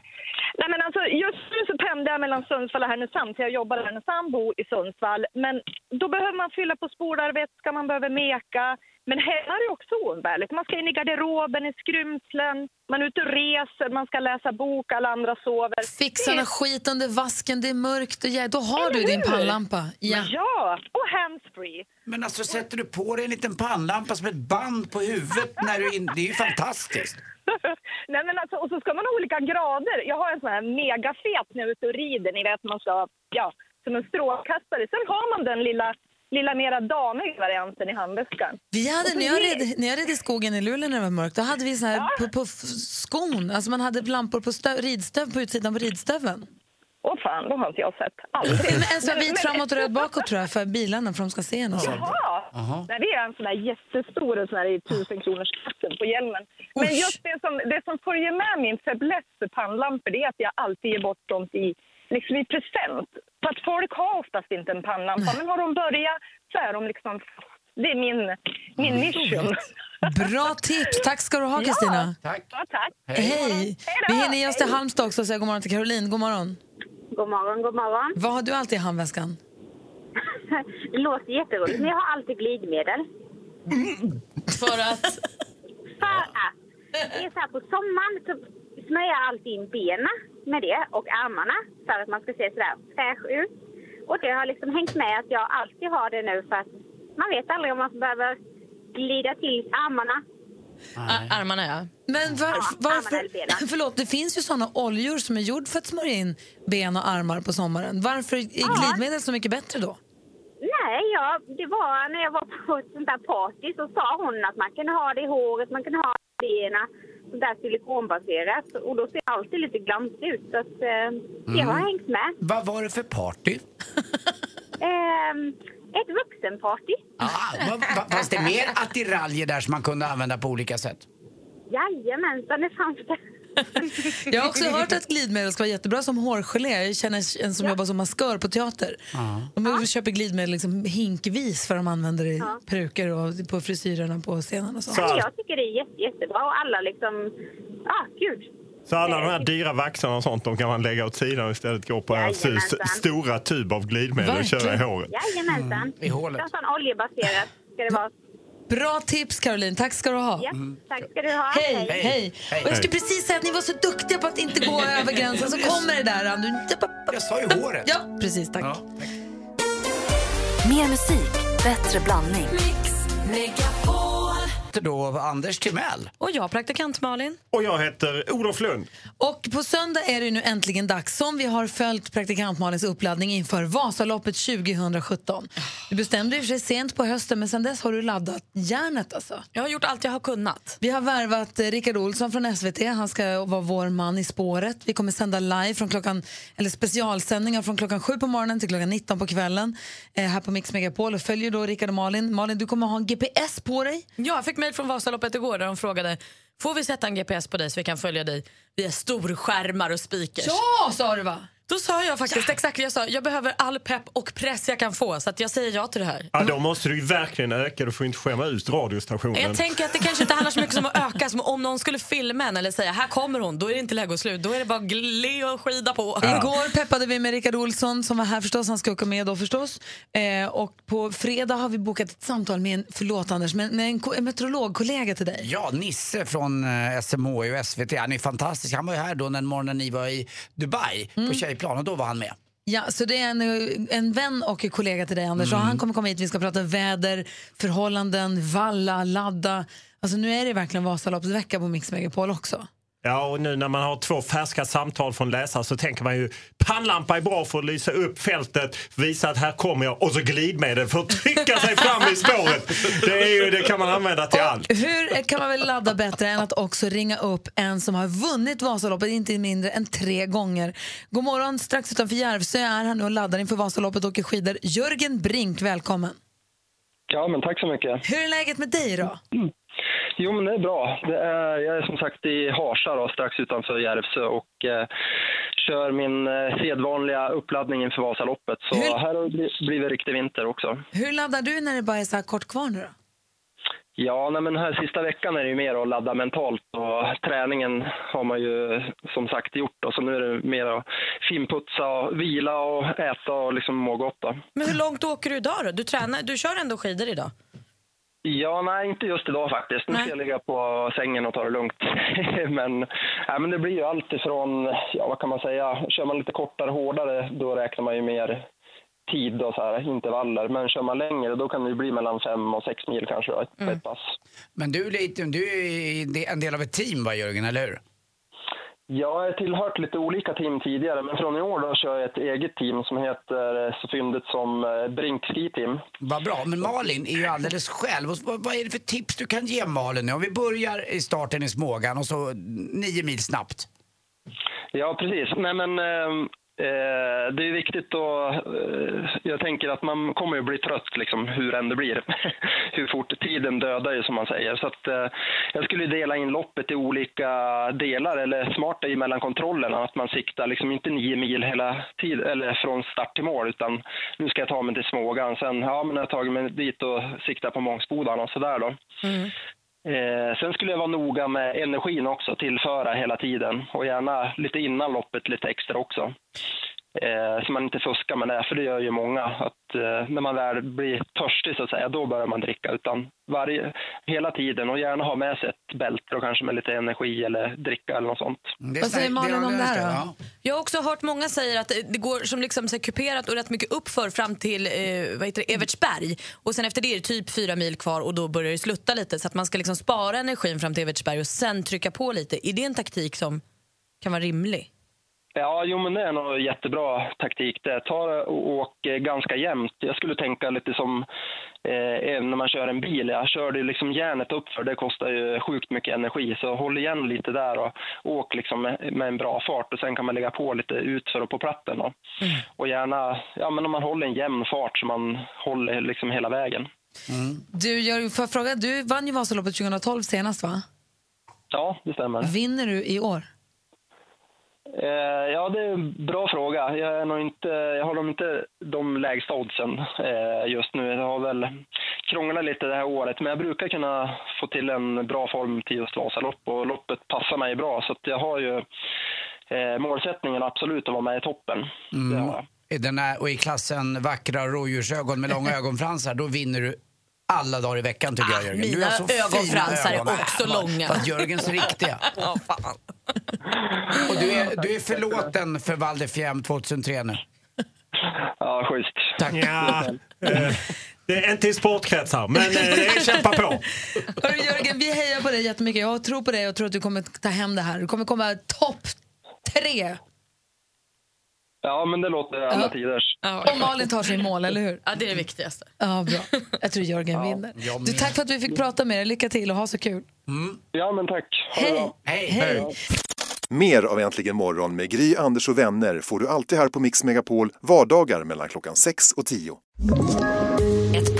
J: Nej, men alltså, just nu så pendlar jag mellan Sundsvall och Härnösand, för jag jobbar i Härnösand, bor i Sundsvall. Men då behöver man fylla på spolarvätska, man behöver meka. Men hemma är det också oumbärligt. Man ska in i garderoben, i skrymslen, man är ute och reser, man ska läsa bok, alla andra sover.
B: Fixa
J: Det
B: någon
J: är-
B: skit under vasken, det är mörkt och jävligt. Då har du
J: Eller
B: din
J: hur?
B: pannlampa. Ja.
J: Ja, och handsfree.
C: Men alltså sätter du på dig en liten pannlampa som ett band på huvudet när du in... Det är ju fantastiskt.
J: Nej, men alltså, och så ska man ha olika grader. Jag har en sån här megafet när jag är ute och rider. Ni vet, man ska, ja, som en strålkastare. Sen har man den lilla, lilla mera damiga varianten i handväskan.
B: Vi hade,
J: Och så
B: när, jag
J: ger-
B: red, när jag red i skogen i Luleå när det var mörkt, då hade vi så här på, på f- skon. Alltså man hade lampor på stö- ridstöv, på utsidan på ridstöven.
J: Åh fan, de har inte jag sett. Aldrig.
B: Men en sån här
J: Men-
B: vit
J: men-
B: framåt och röd bakåt tror jag, för bilarna för de ska se en och sånt.
J: Jaha!
B: Jaha.
J: Nej, det är en sån där jättestor en sån här i 1000 kronors på hjälmen. Men just det som, det som följer med min fäbless för pannlampor det är att jag alltid ger bort dem i, liksom i present. För att folk har oftast inte en pannlampa, men har de börjat så är de liksom... Det är min, min mission.
B: Bra tips! Tack ska du ha, Kristina.
C: Tack.
J: Ja, tack.
B: Hej. Vi hinner ge oss till Halmstad också och säga god morgon till Caroline. God morgon.
W: God morgon, god morgon.
B: Vad har du alltid i handväskan?
K: Det låter jätteroligt, men jag har alltid glidmedel.
D: För att?
K: För att. Det är så här, på sommaren så smörjer jag alltid in benen med det och armarna för att man ska se sådär fräsch ut. Och det har liksom hängt med att jag alltid har det nu för att man vet aldrig om man behöver glida till armarna.
D: Ar- armarna ja.
B: Men
K: Ja,
B: varf-
K: armarna eller
B: varför...
K: benen.
B: <laughs> Förlåt, det finns ju såna oljor som är gjord för att smörja in ben och armar på sommaren. Varför är glidmedel så mycket bättre då?
K: Nej, jag, det var när jag var på ett sånt där party så sa hon att man kan ha det i håret, man kan ha det i benen. Sånt där silikonbaserat. Och då ser jag alltid lite glansig ut. Så att, eh, det har
C: Mm.
K: hängt med.
C: Vad var det för party?
K: Ehm, ett vuxenparty.
C: Ah, vad, vad, fanns det mer attiraljer där som man kunde använda på olika sätt?
K: Jajamensan, det fanns det.
B: <laughs> Jag har också hört att glidmedel ska vara jättebra som hårgelé. Jag känner en som jobbar som maskör på teater. De köper glidmedel liksom hinkvis för de använder det i
K: Ja.
B: peruker och på frisyrerna på scenen
C: Alltså.
B: och så.
K: Nej, jag tycker det är jätte, jättebra och alla liksom... Ja, ah, gud.
V: Så alla de här dyra vaxarna och sånt, de kan man lägga åt sidan och istället gå på en
K: Jajamensan.
V: sus- stora tub av glidmedel och köra i håret.
K: Jajamensan. Mm.
V: I hålet.
K: Sån oljebaserat ska det vara.
B: Bra tips Caroline, tack ska du ha.
K: Ja, tack ska du ha.
B: Hej, hej,
C: Hej.
B: Och jag skulle
C: Hej.
B: precis säga att ni var så duktiga på att inte gå över gränsen så kommer det där. Andu.
C: Jag sa ju håret.
B: Ja, precis. Tack.
E: Mer musik, bättre blandning.
C: Heter Då Anders Timell.
D: Och jag praktikant Malin.
V: Och jag heter Olof Lund.
B: Och på söndag är det nu äntligen dags som vi har följt praktikant Malins uppladdning inför Vasaloppet 2017. Du bestämde dig för sig sent på hösten men sen dess har du laddat järnet alltså.
D: Jag har gjort allt jag har kunnat.
B: Vi har värvat eh, Rickard Olsson från SVT. Han ska vara vår man i spåret. Vi kommer sända live från klockan, eller specialsändningar från klockan 7 på morgonen till klockan 19 på kvällen eh, här på Mix Megapol och följer då Rickard och Malin. Malin, du kommer ha en GPS på dig.
D: Ja, jag fick mejl från Vasaloppet igår där de frågade Får vi sätta en GPS på dig så vi kan följa dig via storskärmar och speakers?
B: Ja, sa du va?
D: Då sa jag faktiskt exakt jag sa. Jag behöver all pepp och press jag kan få så att jag säger ja till det här.
V: Ja, då måste du ju verkligen öka, du får inte skämma ut radiostationen.
D: Jag tänker att det kanske inte handlar så mycket om att öka som om någon skulle filma en eller säga här kommer hon, då är det inte läge att slut. Då är det bara gle och skida på.
B: Igår peppade vi med Rickard Olsson som var här förstås, han ska åka med då förstås. Eh, och på fredag har vi bokat ett samtal med en, förlåt Anders, men med en, ko- en meteorologkollega till dig.
C: Ja, Nisse från eh, SMHI och SVT. Han är fantastisk. Han var ju här då den morgonen ni var i Dubai på tjejplan och då var han med.
B: Ja, så det är en, en vän och en kollega till dig Anders och han kommer komma hit, vi ska prata väder, förhållanden, valla, ladda. Alltså nu är det verkligen Vasaloppsvecka på Mix Megapol också.
V: Ja, och nu när man har två färska samtal från läsare så tänker man ju pannlampa är bra för att lysa upp fältet, visa att här kommer jag och så glidmedel för att trycka sig fram i spåret. Det, är ju, det kan man använda till allt.
B: Hur kan man väl ladda bättre än att också ringa upp en som har vunnit Vasaloppet inte mindre än tre gånger? God morgon, strax utanför Järvsö är han nu och laddar inför Vasaloppet och åker skidor. Jörgen Brink, välkommen.
M: Ja, men tack så mycket.
B: Hur är läget med dig då?
M: Jo, men det är bra. Det är, jag är som sagt i Harsa, då, strax utanför Järvsö och eh, kör min eh, sedvanliga uppladdning inför Vasaloppet. Så här har det bli- blivit riktig vinter också.
B: Hur laddar du när det bara är så här kort kvar nu då?
M: Ja, nej, men den här sista veckan är det ju mer att ladda mentalt och träningen har man ju som sagt gjort. Då, så nu är det mer att finputsa, och vila och äta och liksom må gott. Då.
D: Men hur långt åker du idag då? Du, tränar, du kör ändå skidor idag?
M: Ja, nej, inte just idag faktiskt. Nu ska jag ligga på sängen och ta det lugnt. <laughs> men, nej, men det blir ju allt ifrån, ja vad kan man säga, kör man lite kortare, hårdare, då räknar man ju mer tid och så här, intervaller. Men kör man längre, då kan det ju bli mellan fem och sex mil kanske då, ett, ett pass.
C: Men du, är lite- du är ju en del av ett team va Jörgen, eller hur?
M: Jag har tillhört lite olika team tidigare, men från i år då kör jag ett eget team som heter eh, så fyndigt som eh, Brink Ski Team.
C: Vad bra. Men Malin är ju alldeles själv. Och vad, vad är det för tips du kan ge Malin nu? Om vi börjar i starten i Smågan och så nio mil snabbt.
M: Ja, precis. Nej, men, ehm, eh, det är viktigt att... Eh, jag tänker att man kommer ju bli trött liksom, hur än det blir. <laughs> hur fort tiden dödar ju, som man säger. Så att, eh, jag skulle dela in loppet i olika delar, eller smarta i mellan kontrollerna. Att man siktar liksom inte nio mil hela tid, eller från start till mål, utan nu ska jag ta mig till Smågan. Sen ja, men jag har jag tagit mig dit och siktar på Mångsbodarna och sådär då. Eh, sen skulle jag vara noga med energin också, tillföra hela tiden och gärna lite innan loppet lite extra också. eh, så man inte fuskar med det, för det gör ju många. Att eh, när man väl blir törstig så att säga, då börjar man dricka. Utan varje, hela tiden och gärna ha med sig ett bälte och kanske med lite energi eller dricka eller något sånt.
B: Vad säger Malin om det här då?
D: Jag har också hört många säga att det det går som liksom så här kuperat och rätt mycket uppför fram till eh, vad heter det, Evertsberg. Och sen efter det är det typ fyra mil kvar och då börjar det slutta lite. Så att man ska liksom spara energin fram till Evertsberg och sen trycka på lite. Är det en taktik som kan vara rimlig?
M: Ja, jo, men det är nog en jättebra taktik det. Ta det och åk eh, ganska jämnt. Jag skulle tänka lite som eh, även när man kör en bil. Jag körde ju liksom järnet uppför. Det kostar ju sjukt mycket energi. Så håll igen lite där och åk liksom med, med en bra fart. Och sen kan man lägga på lite utför och på platten. Då. Och gärna, ja men om man håller en jämn fart så man håller liksom hela vägen.
B: Du, jag får jag fråga, du vann ju Vasaloppet 2012 senast va?
M: Ja, det stämmer.
B: Vinner du i år?
M: Eh, ja, det är en bra fråga. Jag, är nog inte, jag har nog inte de lägsta oddsen eh, just nu. Jag har väl krånglat lite det här året, men jag brukar kunna få till en bra form till just Vasalopp och loppet passar mig bra. Så att jag har ju eh, målsättningen absolut att vara med i toppen. Det har jag.
C: I Mm. den här, och i klassen vackra rådjursögon med
D: <laughs>
C: långa ögonfransar, då vinner du alla dagar i veckan tycker jag Jörgen. Du
D: Ah, mina
C: har så fina
D: ögonfransar är
C: ögon.
D: också
C: Äh, vad-
D: långa.
C: Vad Jörgens riktiga. Och du är, du är förlåten för Val de Fiemme 2003 nu.
M: Ja, schysst.
C: Tack.
V: Ja, eh, det är inte i sportkretsar, men eh, det är kämpa på.
B: Hörru Jörgen, vi hejar på dig jättemycket. Jag tror på dig och tror att du kommer ta hem det här. Du kommer komma topp tre.
M: Ja, men det låter alla tiders.
B: Om Malin tar sig i mål, eller hur?
D: Ja, det är det viktigaste.
B: Ja, bra. Jag tror Jörgen vinner.
M: jag
B: Du, tack för att vi fick prata med dig. Lycka till och ha så kul.
M: Mm. Ja, men tack.
B: Hej! Hej! Hej.
N: Mer av Äntligen morgon med Gry, Anders och vänner får du alltid här på Mix Megapol vardagar mellan klockan 6 och 10.
E: Ett